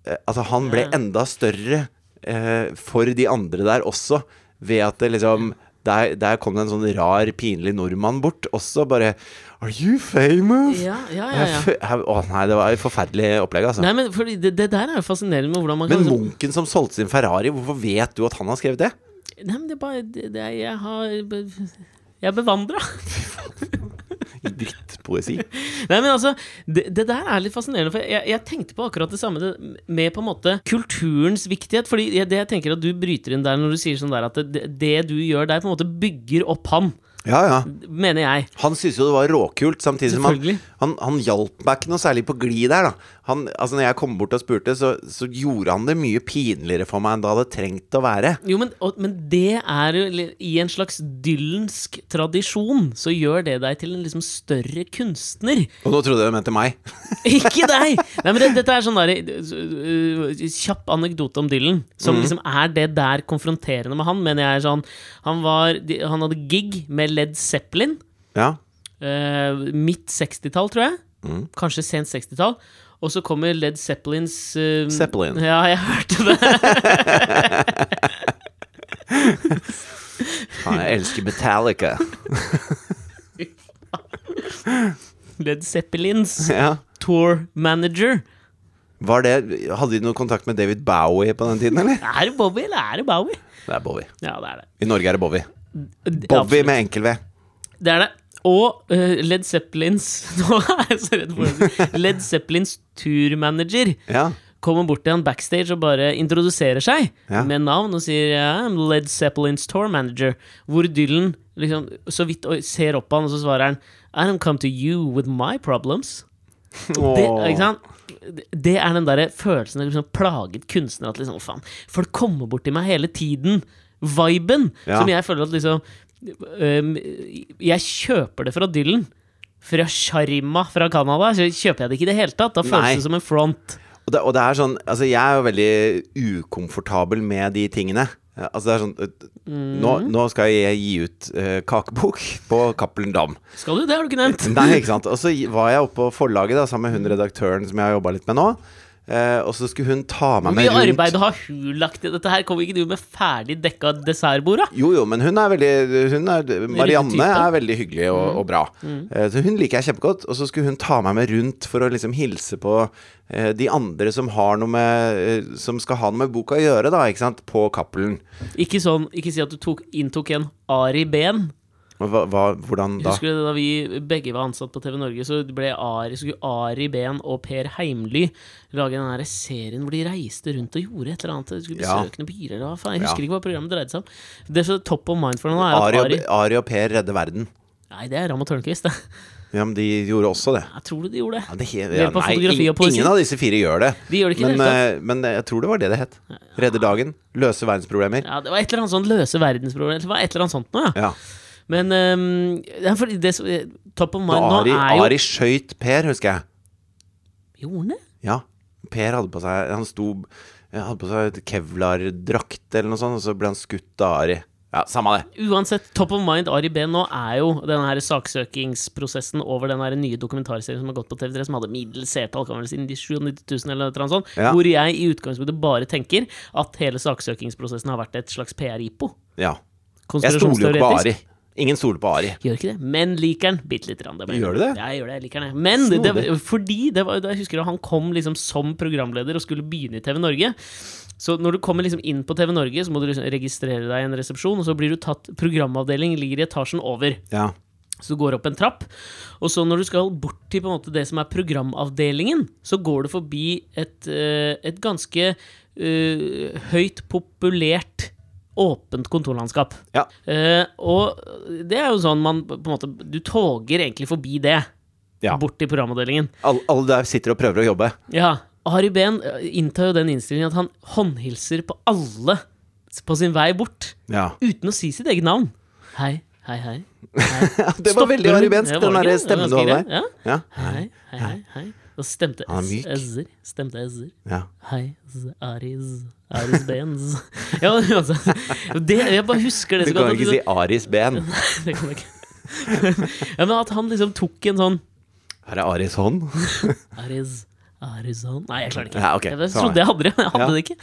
B: eh, Altså, han ble enda større eh, for de andre der også, ved at det liksom der, der kom det en sånn rar, pinlig nordmann bort også, bare Are you famous?
A: Ja, ja, ja,
B: Jeg
A: ja.
B: fø- jeg- Å nei, det var et forferdelig opplegg, altså.
A: Nei, altså- men fordi det, det der er jo fascinerende med hvordan man kan
B: Men Munken som solgte sin Ferrari, hvorfor vet du at han har skrevet det?
A: liksom- Nei, men det er bare det, det er, Jeg har Jeg er bevandra.
B: Drittpoesi.
A: Nei, men altså, det, det der er litt fascinerende. For jeg, jeg tenkte på akkurat det samme det, med på en måte kulturens viktighet. Fordi jeg, det jeg tenker at du bryter inn der når du sier sånn der at det, det du gjør der, på en måte bygger opp han.
B: Ja, ja.
A: Mener jeg.
B: Han syntes jo det var råkult, samtidig som han,
A: Selvfølgelig.
B: han, han hjalp meg ikke noe særlig på glid der, da. Han, altså, når jeg kom bort og spurte, så, så gjorde han det mye pinligere for meg enn det hadde trengt å være.
A: Jo, men, og, men det er jo li- I en slags dylensk tradisjon så gjør det deg til en liksom større kunstner.
B: Og nå trodde jeg du mente meg.
A: Ikke deg! Nei, men det, dette er sånn der, øh, øh, Kjapp anekdote om Dylan, som liksom er det der konfronterende med han, mener jeg. er Sånn, han, var, de- han hadde gig med Led Zeppelin,
B: Ja.
A: øh, midt 60-tall, tror jeg. Kanskje sent 60-tall. Og så kommer Led Zeppelins øh,
B: Zeppelin.
A: Ja, jeg hørte det.
B: Faen, jeg elsker Metallica.
A: Led Zeppelins
B: Ja.
A: tour manager.
B: Var det, hadde de noe kontakt med David Bowie på den tiden, eller?
A: Er det Bobby, eller er det Bowie?
B: Det er Bowie.
A: Ja, det er det.
B: I Norge er det Bowie.
A: Det-
B: Bowie
A: absolutt.
B: med enkel V.
A: Det er det. Og eh, Led Zeppelins Nå er jeg så redd for det. Led Zeppelins turmanager
B: Ja.
A: kommer bort til han backstage og bare introduserer seg
B: Ja.
A: med navn og sier «Ja, I'm Led Zeppelins tour manager, hvor Dylan liksom, så vidt og ser opp på han, og så svarer han I don't come to you with my problems. Det, ikke sant? det er den der følelsen av liksom, plaget kunstner. At liksom, «Å, faen, folk kommer bort til meg hele tiden. Viben.
B: Ja.
A: Som jeg føler at liksom øhm, Jeg kjøper det fra Dylan. Fra Sharma fra Canada så kjøper jeg det ikke i det hele tatt. Da
B: Nei.
A: føles det som en front.
B: Og det, og det er sånn Altså, jeg er jo veldig ukomfortabel med de tingene. Eh, Altså, det er sånn eh, nå,
A: Mhm.
B: nå skal jeg gi ut eh, kakebok på Cappelen Dam.
A: Skal du det, har du ikke nevnt?
B: Nei, ikke sant. Og så var jeg oppe på forlaget da, sammen med hun redaktøren som jeg har jobba litt med nå. Eh, og så skulle hun ta meg
A: Hvor
B: med
A: mye
B: rundt
A: arbeid har hun lagt i dette her? Kommer ikke du med ferdig dekka dessertbord, da?
B: Jo, jo, men hun er veldig hun er, Marianne
A: type. Mm.
B: er veldig hyggelig og, og bra. Eh, Så hun liker jeg kjempegodt. Og så skulle hun ta meg med rundt for å liksom hilse på eh, de andre som har noe med eh, Som skal ha noe med boka å gjøre, da, ikke sant, på Cappelen.
A: Ikke sånn, ikke si at du tok, inntok en Ari Behn.
B: Og Hva, hva, hvordan da?
A: Husker du det da vi begge var ansatt på TV Norge, så ble Ari, så skulle Ari Behn og Per Heimly lage den der serien hvor de reiste rundt og gjorde et eller annet. De skulle
B: Ja.
A: besøke noen byer eller hva faen. Jeg husker
B: Ja.
A: ikke hva programmet dreide seg om. Det som er top of mind for noen, er
B: Ari
A: at
B: og,
A: Ari
B: Ari og Per redder verden.
A: Nei, det er Ramm og Tørnquist, det.
B: Ja, men de gjorde også det.
A: Jeg tror du de gjorde
B: Ja,
A: det.
B: det he-
A: Ved hjelp av
B: nei,
A: fotografi og
B: ing-
A: poesi.
B: ingen av disse fire gjør det.
A: De gjør det ikke i
B: men,
A: det hele
B: eh, men jeg tror det var det det het. Redde dagen, løse verdensproblemer.
A: Ja, Det var et eller annet sånn løse verdensproblem, eller det var et eller annet sånt noe, ja.
B: Ja.
A: Men ehm, ja, fordi det som Top of mind
B: Da
A: nå
B: Ari,
A: er jo
B: Ari skøyt Per, husker jeg.
A: Gjorde han det?
B: Ja. Per hadde på seg Han sto han hadde på seg et kevlardrakt eller noe sånt, og så ble han skutt av Ari. Ja, samme det.
A: Uansett, top of mind Ari Behn nå er jo den her saksøkingsprosessen over den her nye dokumentarserien som har gått på TV3, som hadde middels seertall, kan vel si 97 000 eller noe sånt,
B: Ja.
A: hvor jeg i utgangspunktet bare tenker at hele saksøkingsprosessen har vært et slags PR-ipo.
B: Ja. Jeg stoler jo ikke på Ari. Ingen stoler på Ari.
A: Gjør ikke det, men liker den bitte lite grann. det mener jeg.
B: Gjør du det?
A: Ja, jeg gjør det, jeg liker den. jeg. Men det,
B: Snodig.
A: det- fordi det var, da jeg husker jeg han kom liksom som programleder og skulle begynne i TV Norge. Så når du kommer liksom inn på TV Norge, så må du liksom registrere deg i en resepsjon, og så blir du tatt Programavdeling ligger i etasjen over.
B: Ja.
A: Så du går opp en trapp, og så når du skal bort til på en måte det som er programavdelingen, så går du forbi et, eh, et ganske eh, høyt populert åpent kontorlandskap.
B: Ja.
A: Eh, og det er jo sånn man på en måte Du toger egentlig forbi det.
B: Ja.
A: Bort til programavdelingen.
B: Alle, alle der sitter og prøver å jobbe.
A: Ja. Harry Behn eh, inntar jo den innstillingen at han håndhilser på alle på sin vei bort.
B: Ja.
A: Uten å si sitt eget navn. Hei, hei, hei. hei.
B: Det var
A: Stopper
B: veldig
A: hun-
B: aribensk,
A: Ja, var
B: den
A: det
B: der
A: ikke? Det var
B: stemmen du hadde
A: ganske greit.
B: der. Ja.
A: Ja. Hei, hei, hei, hei. Og så stemte
B: Han er myk.
A: S-er. Stemte S-er.
B: Ja.
A: Hei, z- Aris. Aris Benz. Ja, men altså, det, jeg bare husker det
B: Du
A: så
B: kan
A: godt.
B: jo
A: at
B: ikke si Aris ben.
A: liksom- det kan jeg ikke. Ja, men at han liksom tok en sånn
B: Her er Aris hånd.
A: Aris Arizon Nei, jeg klarer det ikke.
B: Ja, ok,
A: Jeg
B: sånn er
A: trodde jeg hadde det, men jeg hadde
B: Ja.
A: det ikke.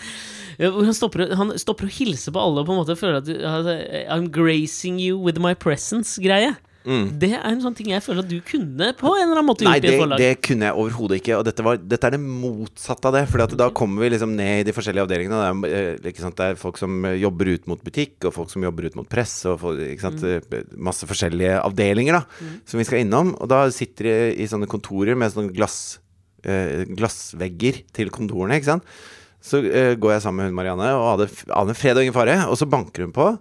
A: Ja, hvor Han stopper, han stopper å hilse på alle og på en måte føler at du- altså, I'm gracing you with my presence-greie. Det er en sånn ting jeg føler at du kunne på en eller annen måte
B: Mm.
A: gjort
B: Nei,
A: i
B: det,
A: et forlag.
B: det kunne jeg overhodet ikke. Og dette, var, dette er det motsatte av det. For da kommer vi liksom ned i de forskjellige avdelingene. og Det er, eh, ikke sant? det er folk som eh, jobber ut mot butikk, og folk som jobber ut mot press, og folk, ikke sant?
A: Mm.
B: eh, masse forskjellige avdelinger da, som vi skal innom. Og da sitter de i sånne kontorer med sånne glass, eh, glassvegger til kontorene, ikke sant. Så eh, går jeg sammen med hun Marianne og aner, aner fred og ingen fare. Og så banker hun på og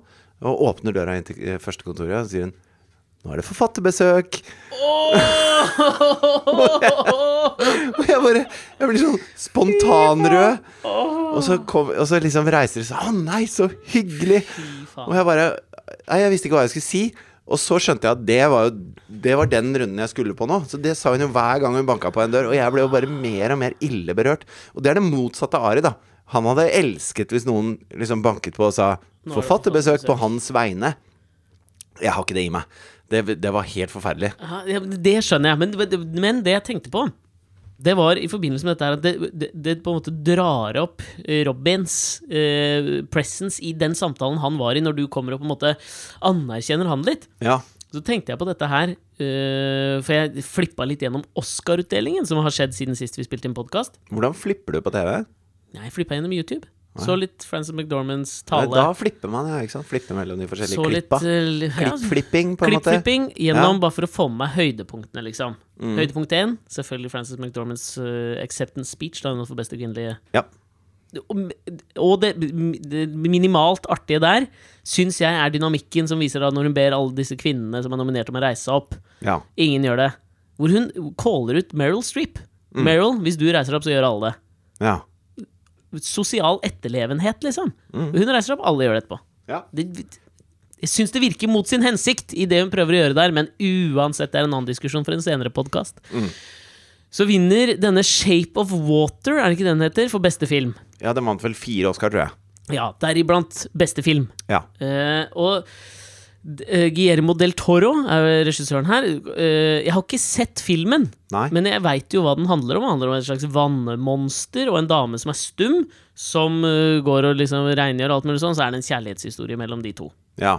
B: åpner døra inn til eh, første kontoret, og så sier hun nå er det forfatterbesøk! Og jeg bare Jeg blir sånn spontanrød. Og så, kom, og så liksom reiser de seg. Å nei, så hyggelig!
A: faen.
B: Og jeg bare Nei, jeg visste ikke hva jeg skulle si. Og så skjønte jeg at det var jo Det var den runden jeg skulle på nå. Så det sa hun jo hver gang hun banka på en dør. Og jeg ble jo bare mer og mer ille berørt. Og det er det motsatte av Ari, da. Han hadde elsket hvis noen liksom banket på og sa
A: Nå er det
B: forfatterbesøk på
A: forfatterbesøk.
B: hans vegne. Jeg har ikke det i meg. Det, det var helt forferdelig.
A: Ja, ja, men det skjønner jeg, men, men det jeg tenkte på det var i forbindelse med dette her at det, det, det på en måte drar opp eh, Robins eh, presence i den samtalen han var i, når du kommer og på en måte anerkjenner han litt.
B: Ja.
A: Så tenkte jeg på dette her, eh, for jeg flippa litt gjennom Oscar-utdelingen som har skjedd siden sist vi spilte inn podkast.
B: Hvordan flipper du på TV?
A: Jeg flippa gjennom YouTube. Så litt Frances McDormands
B: Nei,
A: tale.
B: Da flipper man, ja. ikke sant? Flipper mellom de forskjellige
A: så litt
B: klippa.
A: eh, ja,
B: Klippflipping, på en måte.
A: Klippflipping gjennom
B: Ja. Mm.
A: bare for å få med meg høydepunktene, liksom. Høydepunkt én, selvfølgelig Frances McDormands eh, acceptance speech, da hun var for beste kvinnelige
B: Ja.
A: Og, og det, det minimalt artige der syns jeg er dynamikken som viser da når hun ber alle disse kvinnene som er nominert, om å reise seg opp.
B: ja.
A: Ingen gjør det. Hvor hun caller ut Meryl Streep.
B: Mm.
A: Meryl, hvis du reiser deg opp, så gjør alle det.
B: Ja.
A: Sosial etterlevenhet, liksom.
B: Mm.
A: Hun reiser seg opp, alle gjør det etterpå.
B: Ja.
A: det, jeg syns det virker mot sin hensikt i det hun prøver å gjøre der, men uansett, det er en annen diskusjon for en senere podkast.
B: Mm.
A: Så vinner denne Shape of Water, er det ikke den heter, for beste film.
B: ja, den vant vel fire Oscar, tror jeg.
A: Ja, deriblant beste film.
B: Ja.
A: Eh, og eh, Guillermo del Toro er regissøren her. Eh, jeg har ikke sett filmen,
B: Nei.
A: men jeg veit jo hva den handler om. Den handler om et slags vannmonster og en dame som er stum, som eh, går og liksom rengjør og alt mulig sånn. Så er det en kjærlighetshistorie mellom de to.
B: ja.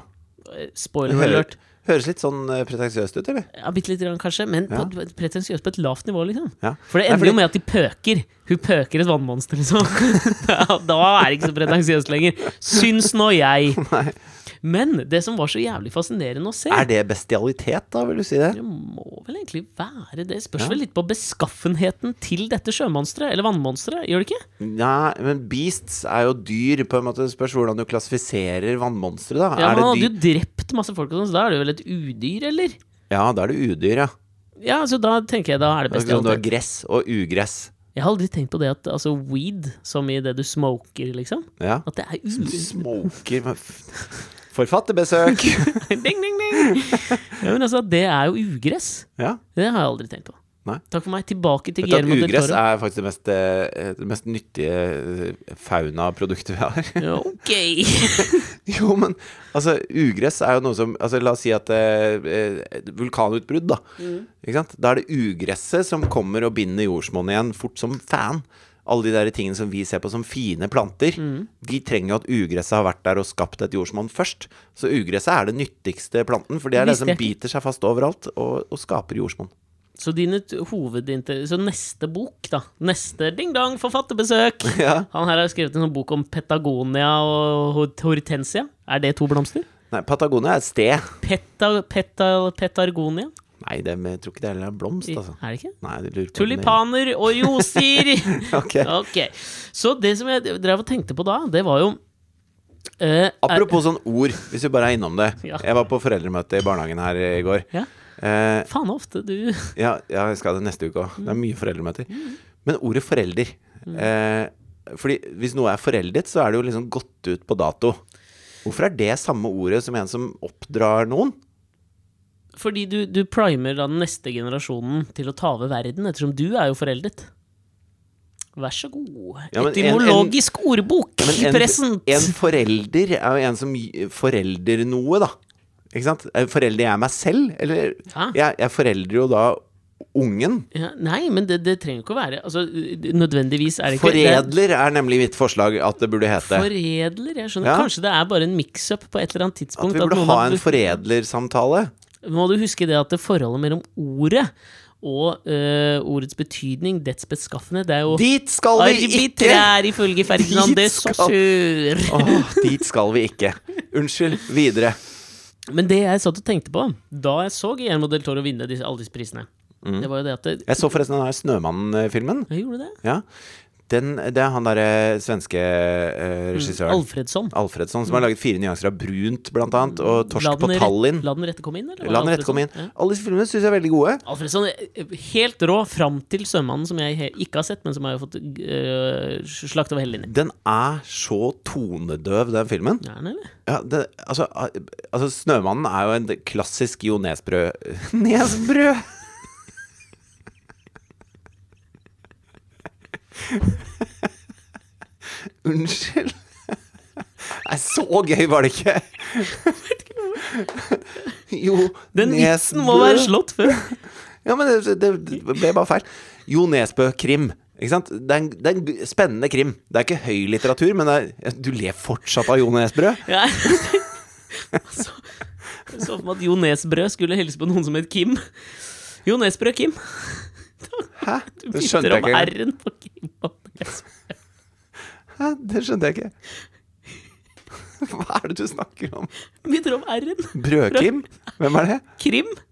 A: Eh, Spoiler
B: Hører-
A: alert.
B: høres litt sånn eh, pretensiøst ut, eller?
A: Ja, Bitte lite grann, kanskje, men
B: Ja.
A: på, pretensiøst på et lavt nivå, liksom.
B: Ja.
A: For det
B: Nei,
A: ender
B: fordi-
A: jo med at de pøker. Hun pøker et vannmonster, liksom. da, da er det ikke så pretensiøst lenger. Syns nå jeg.
B: Nei.
A: Men det som var så jævlig fascinerende å se
B: Er det bestialitet, da, vil du si det?
A: det må vel egentlig være det. Spørs
B: Ja.
A: vel litt på beskaffenheten til dette sjømonsteret, eller vannmonsteret, gjør det ikke?
B: Nei, men beasts er jo dyr, på en måte. Det Spørs hvordan du klassifiserer vannmonstre, da.
A: Ja, men Han
B: er det
A: hadde
B: dyr?
A: jo drept masse folk, og sånn, så da er det vel et udyr, eller?
B: Ja, da er det udyr, ja.
A: Ja, så da tenker jeg da er det
B: Det er
A: best
B: ikke sånn du har gress og ugress.
A: Jeg har aldri tenkt på det at altså weed, som i det du smoker, liksom,
B: Ja.
A: at det er
B: Du
A: udyr.
B: smoker med f- Forfatterbesøk!
A: ding, ding, ding. Ja, men altså, det er jo ugress.
B: Ja.
A: Det har jeg aldri tenkt på.
B: Nei.
A: Takk for meg. Tilbake til
B: Vet du at
A: Guillermo del
B: ugress
A: Toro.
B: er faktisk det mest, eh, det mest nyttige eh, faunaproduktet vi har.
A: Ja, Ok!
B: jo, men altså, ugress er jo noe som altså, La oss si at eh, eh, vulkanutbrudd,
A: Mm.
B: da. Ikke sant? Da er det ugresset som kommer og binder jordsmonnet igjen fort som fan. alle de der tingene som vi ser på som fine planter,
A: Mm.
B: de trenger jo at ugresset har vært der og skapt et jordsmonn først. Så ugresset er det nyttigste planten, for det er det
A: Visste
B: som
A: jeg ikke.
B: biter seg fast overalt og, og skaper jordsmonn.
A: Så dine t- hovedinter... Så neste bok, da. Neste ding-dong forfatterbesøk.
B: Ja.
A: Han her har skrevet en sånn bok om Petagonia og hor- hortensia. Er det to blomster?
B: Nei, Patagonia er et sted.
A: Peta, peta, petargonia?
B: Nei, det med, jeg tror ikke det heller er en blomst,
A: I-
B: altså.
A: Er det ikke?
B: Nei, du lurer på den i-
A: Tulipaner og rosir!
B: Ok.
A: Ok, Så det som jeg drev og tenkte på da, det var jo eh,
B: Apropos sånn ord, hvis vi bare er innom det.
A: Ja.
B: Jeg var på foreldremøte i barnehagen her i går.
A: Ja.
B: Eh,
A: er, Faen ofte du
B: ja, ja, jeg skal det neste uke òg. Det
A: Mm.
B: er mye foreldremøter. Men ordet forelder eh, Fordi hvis noe er foreldet, så er det jo liksom gått ut på dato. Hvorfor er det samme ordet som en som oppdrar noen?
A: Fordi du, du primer da den neste generasjonen til å ta over verden, ettersom du er jo foreldet. Vær så god.
B: Ja, men en-
A: Etymologisk ordbok
B: Men en,
A: present!
B: en forelder er jo en som gi- forelder noe, da. Ikke sant? Eh, Forelder jeg meg selv? Eller
A: Ja.
B: jeg, jeg forelder jo da ungen.
A: ja, nei, men det, det trenger jo ikke å være altså, Nødvendigvis er det ikke det
B: Foredler er nemlig mitt forslag at det burde
A: er
B: hete.
A: Foredler? Jeg skjønner.
B: Ja.
A: Kanskje det er bare en mix-up på et eller annet
B: At
A: tidspunkt.
B: vi burde
A: noen
B: ha
A: har
B: en
A: brukt-
B: foreldersamtale.
A: må du huske det at det forholdet mellom ordet og eh, ordets betydning, dets beskaffenhet, det er jo
B: Dit skal vi ikke!
A: arbitrær ifølge Ferdinand de
B: Dit skal-
A: Saussure.
B: Åh, dit skal vi ikke. Unnskyld. Videre.
A: Men det jeg satt og tenkte på da jeg så Guillermo del Toro vinne disse, alle disse prisene,
B: Mm.
A: det var jo det at det,
B: Jeg så forresten den her Snømannen-filmen.
A: Jeg gjorde det.
B: Ja. Den, det er han derre svenske
A: Mm,
B: eh, regissøren.
A: Alfredsson.
B: Alfredsson, som har laget fire nyanser av brunt, blant annet, og Torsk
A: La den
B: på
A: rett-
B: Tallinn.
A: La den rette komme inn, eller? var det
B: La den rette komme inn.
A: Alfredsson? Ja.
B: Alle disse filmene syns jeg er veldig gode.
A: Alfredsson, eh, helt rå fram til 'Sømannen', som jeg he ikke har sett, men som jeg har fått uh, slakt over hele linjen.
B: Den er så tonedøv, den filmen.
A: Er den, eller?
B: Ja, det, altså, a- altså, Snømannen er jo en klassisk Jo Nesbrø Nesbrø! Unnskyld. Nei, så gøy var det ikke! Jo
A: Den vitsen må være slått før.
B: Ja, men det, det, det ble bare feil. Jo Nesbø-krim. Ikke sant? Det er, en, det er en spennende krim. Det er ikke høy litteratur, men det er, du ler fortsatt av Jo Nesbrø.
A: Ja. Så, jeg så for meg at Jo Nesbrø skulle hilse på noen som het Kim. Jo Nesbrø Kim.
B: Hæ?
A: Du
B: Det
A: bytter
B: skjønte jeg
A: om
B: ikke. engang.
A: R-en på Kim. og Nesbrø.
B: Hæ? Det skjønte jeg ikke. Hva er det du snakker om?
A: Bytter om R-en.
B: Brødkim? Hvem er det?
A: Krim. Kjør.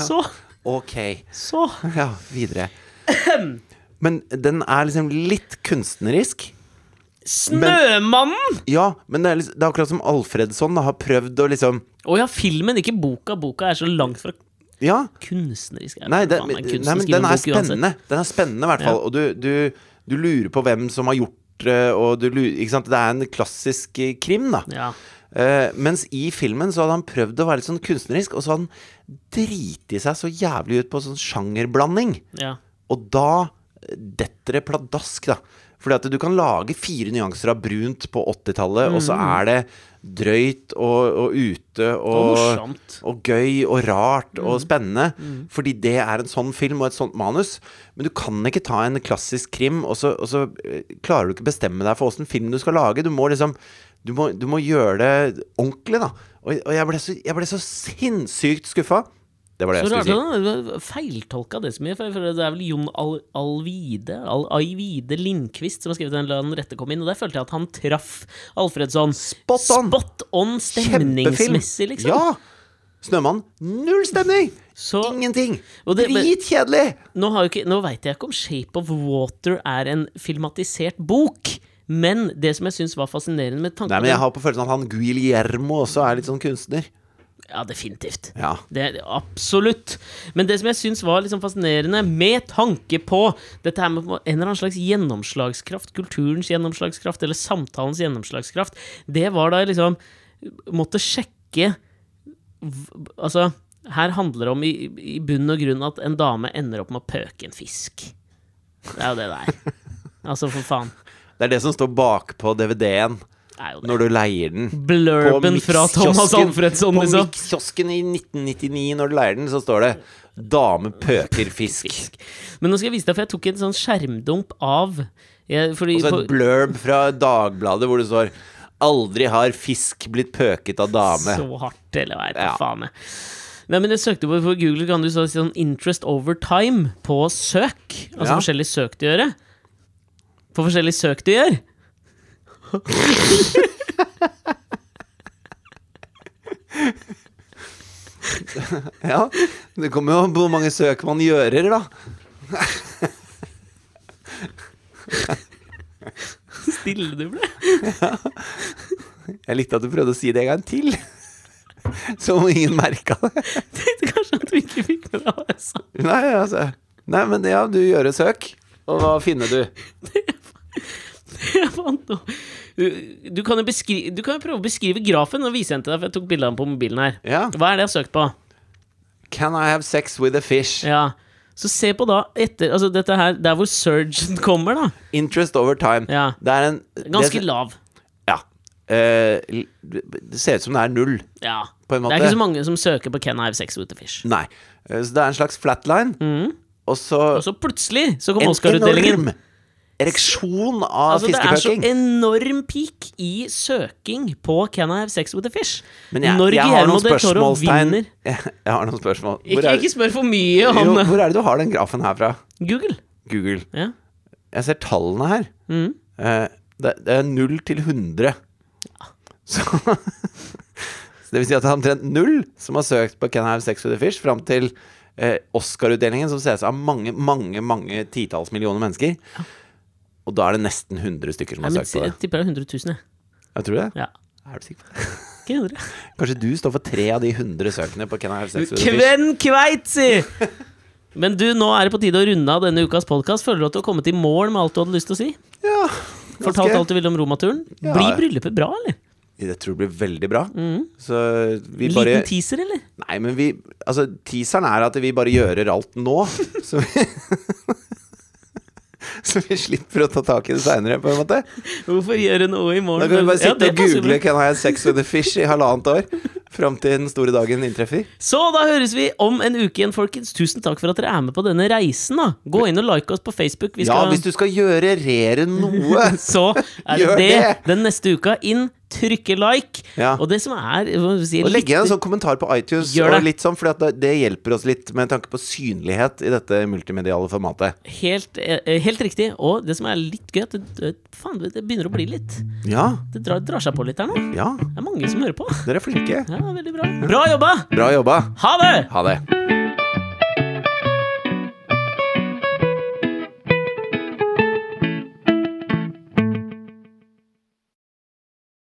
A: Så,
B: Ok,
A: så.
B: ja, videre. Men den er liksom litt kunstnerisk.
A: Snømannen!
B: Ja, men det er, liksom, det er akkurat som Alfredsson da, har prøvd å liksom
A: Å ja, filmen, ikke boka. Boka er så langt fra
B: Ja.
A: kunstnerisk.
B: Nei, det,
A: Faen,
B: men,
A: en kunstner
B: nei, men
A: skriver
B: den
A: en bok
B: er
A: uansett.
B: spennende. Den er spennende, i hvert fall. Og du, du, du lurer på hvem som har gjort det, og du lurer Ikke sant. Det er en klassisk eh, krim, da.
A: Ja.
B: Eh, mens i filmen så hadde han prøvd å være litt sånn kunstnerisk, og så hadde han driti seg så jævlig ut på sånn sjangerblanding.
A: ja.
B: Og da detter det pladask, da. Fordi at du kan lage fire nyanser av brunt på 80-tallet, og så er det drøyt og, og ute
A: Mm. Og
B: og,
A: morsomt. Mm.
B: og gøy og rart og spennende. Fordi det er en sånn film og et sånt manus. Men du kan ikke ta en klassisk krim, og så, og så eh, klarer du ikke bestemme deg for åssen film du skal lage. Du må liksom du må, du må gjøre det ordentlig, da. Og, og jeg, ble så, jeg ble så sinnssykt skuffa. Det var det
A: Så
B: jeg
A: rart
B: skulle si.
A: at han feiltolka det så mye, for for det er vel Jon Al Alvide Al Aivide Lindqvist som har skrevet den la den rette komme inn, og der følte jeg at han traff Alfredsson.
B: Spot on!
A: Spot on stemningsmessig, liksom.
B: Ja! Snømann, null stemning!
A: Så,
B: Ingenting!
A: Og det- men-
B: Dritkjedelig!
A: nå har jo ikke- nå veit jeg ikke om Shape of Water er en filmatisert bok, men det som jeg syns var fascinerende med tanken
B: Nei, men jeg har på følelsen at han Guillermo også er litt sånn kunstner.
A: Ja, definitivt.
B: Ja.
A: Det er absolutt. Men det som jeg syns var liksom fascinerende, med tanke på dette her med en eller annen slags gjennomslagskraft, kulturens gjennomslagskraft eller samtalens gjennomslagskraft, det var da jeg liksom måtte sjekke v- Altså, her handler det om i, i bunn og grunn at en dame ender opp med å pøke en fisk. Det er jo det det er. Altså, for faen.
B: Det er det som står bakpå DVD-en
A: Det er jo det.
B: når du leier den. På
A: Blurben fra Thomas
B: Mix-kiosken-
A: Alfredsson,
B: På
A: liksom.
B: Mix-kiosken i 1999, når du leier den, så står det Dame pøker fisk.
A: Fisk. Men nå skal jeg vise deg, for jeg tok en sånn skjermdump av jeg, fordi
B: Og så
A: på,
B: en blurb fra Dagbladet hvor det står 'Aldri har fisk blitt pøket av dame'.
A: Så hardt, eller hva jeg
B: Ja.
A: vet faen jeg. Nei, men jeg søkte på, på Google kan du så si sånn 'interest over time' på søk. Altså
B: Ja.
A: forskjellige søk du gjør. På forskjellige søk du gjør.
B: Ja, Det kommer jo an på hvor mange søk man gjører, da.
A: Stille du ble.
B: Jeg likte at du prøvde å si det en gang til. Som om ingen merka det.
A: Tenkte kanskje at du ikke fikk med deg hva jeg sa.
B: Nei, altså. Nei, men ja, du gjør et søk. Og hva finner du?
A: Jeg fant noe. Du- Du kan jo beskri- du kan jo prøve å beskrive grafen. Nå viser jeg den til deg, for jeg tok bilde av den på mobilen her.
B: Ja.
A: Hva er det jeg har søkt på?
B: 'Can I have sex with a fish?'
A: Ja. Så se på da etter Altså dette her, der hvor surgen kommer, da.
B: Interest over time.
A: Ja.
B: Det er en
A: Ganske
B: det,
A: lav.
B: Ja. Eh, det ser ut som det er null.
A: Ja.
B: På en måte.
A: Det er ikke så mange som søker på 'Can I have sex with a fish'?
B: Nei. Eh, Så det er en slags flatline. Og så
A: Mm. Og så plutselig så kom
B: en
A: Oscar-utdelingen.
B: enorm ereksjon av
A: Altså, det er så
B: fiskepøking.
A: enorm peak i søking på 'Can I have sex with a fish'?
B: Men jeg,
A: Når
B: jeg har
A: Guillermo
B: noen
A: del Toro
B: spørsmålstegn.
A: vinner-
B: Jeg, jeg har noen spørsmål. Hvor
A: Ikke, sånn.
B: er,
A: ikke spør for mye om eh,
B: jo, hvor er det du har den grafen her fra?
A: Google.
B: Google.
A: Ja.
B: Jeg ser tallene her. Eh, det, det er 0 til 100. Så, så det vil si at det er omtrent null som har søkt på Can I have sex with a fish fram til eh, Oscar-utdelingen, som ses av mange, mange mange titalls millioner mennesker. Og da er det nesten 100 stykker som
A: Nei,
B: har
A: men,
B: søkt på
A: jeg
B: det.
A: tipper det er 100 000, jeg.
B: Jeg tror det.
A: Ja.
B: Er du sikker på det?
A: Ikke 100.
B: Kanskje du står for tre av de 100 søkene på Can I have sex with a fish?
A: Kven kveit, si! Men du, nå er det på tide å runde av denne ukas podkast. Føler du at du har kommet i mål med alt du hadde lyst til å si?
B: Ja,
A: Fortalt
B: ganske-
A: alt du ville om Romaturen?
B: Ja.
A: Blir bryllupet bra, eller?
B: Jeg tror det blir veldig bra. Så vi
A: Mm. Liten
B: bare
A: teaser, eller?
B: Nei, men vi Altså, teaseren er at vi bare gjører alt nå. Så vi Så vi slipper å ta tak i det seinere, på en måte.
A: Hvorfor gjøre noe i morgen?
B: Da kan vi bare
A: Ja,
B: sitte
A: det
B: og
A: passer bra.
B: google 'Can I have sex with a fish?' i halvannet år. Fram til den store dagen inntreffer.
A: Så da høres vi om en uke igjen, folkens. Tusen takk for at dere er med på denne reisen. da Gå inn og like oss på Facebook. Vi
B: Ja,
A: skal,
B: hvis du skal gjøre rere noe
A: Så er det
B: Gjør
A: det
B: det!
A: den neste uka. Inn, trykke like.
B: Ja.
A: Og det som er hva skal vi si,
B: Og legge igjen en
A: litt-
B: sånn kommentar på iTunes,
A: Gjør det.
B: og litt sånn, for det, det hjelper oss litt med tanke på synlighet i dette multimediale formatet.
A: helt, eh, helt riktig. Og det som er litt gøy, at det, det, faen, det begynner å bli litt
B: Ja,
A: Det drar, drar seg på litt her nå.
B: ja.
A: Det er mange som hører på.
B: Dere er flinke.
A: Ja, veldig bra. Bra jobba!
B: Bra jobba.
A: Ha det!
B: Ha det.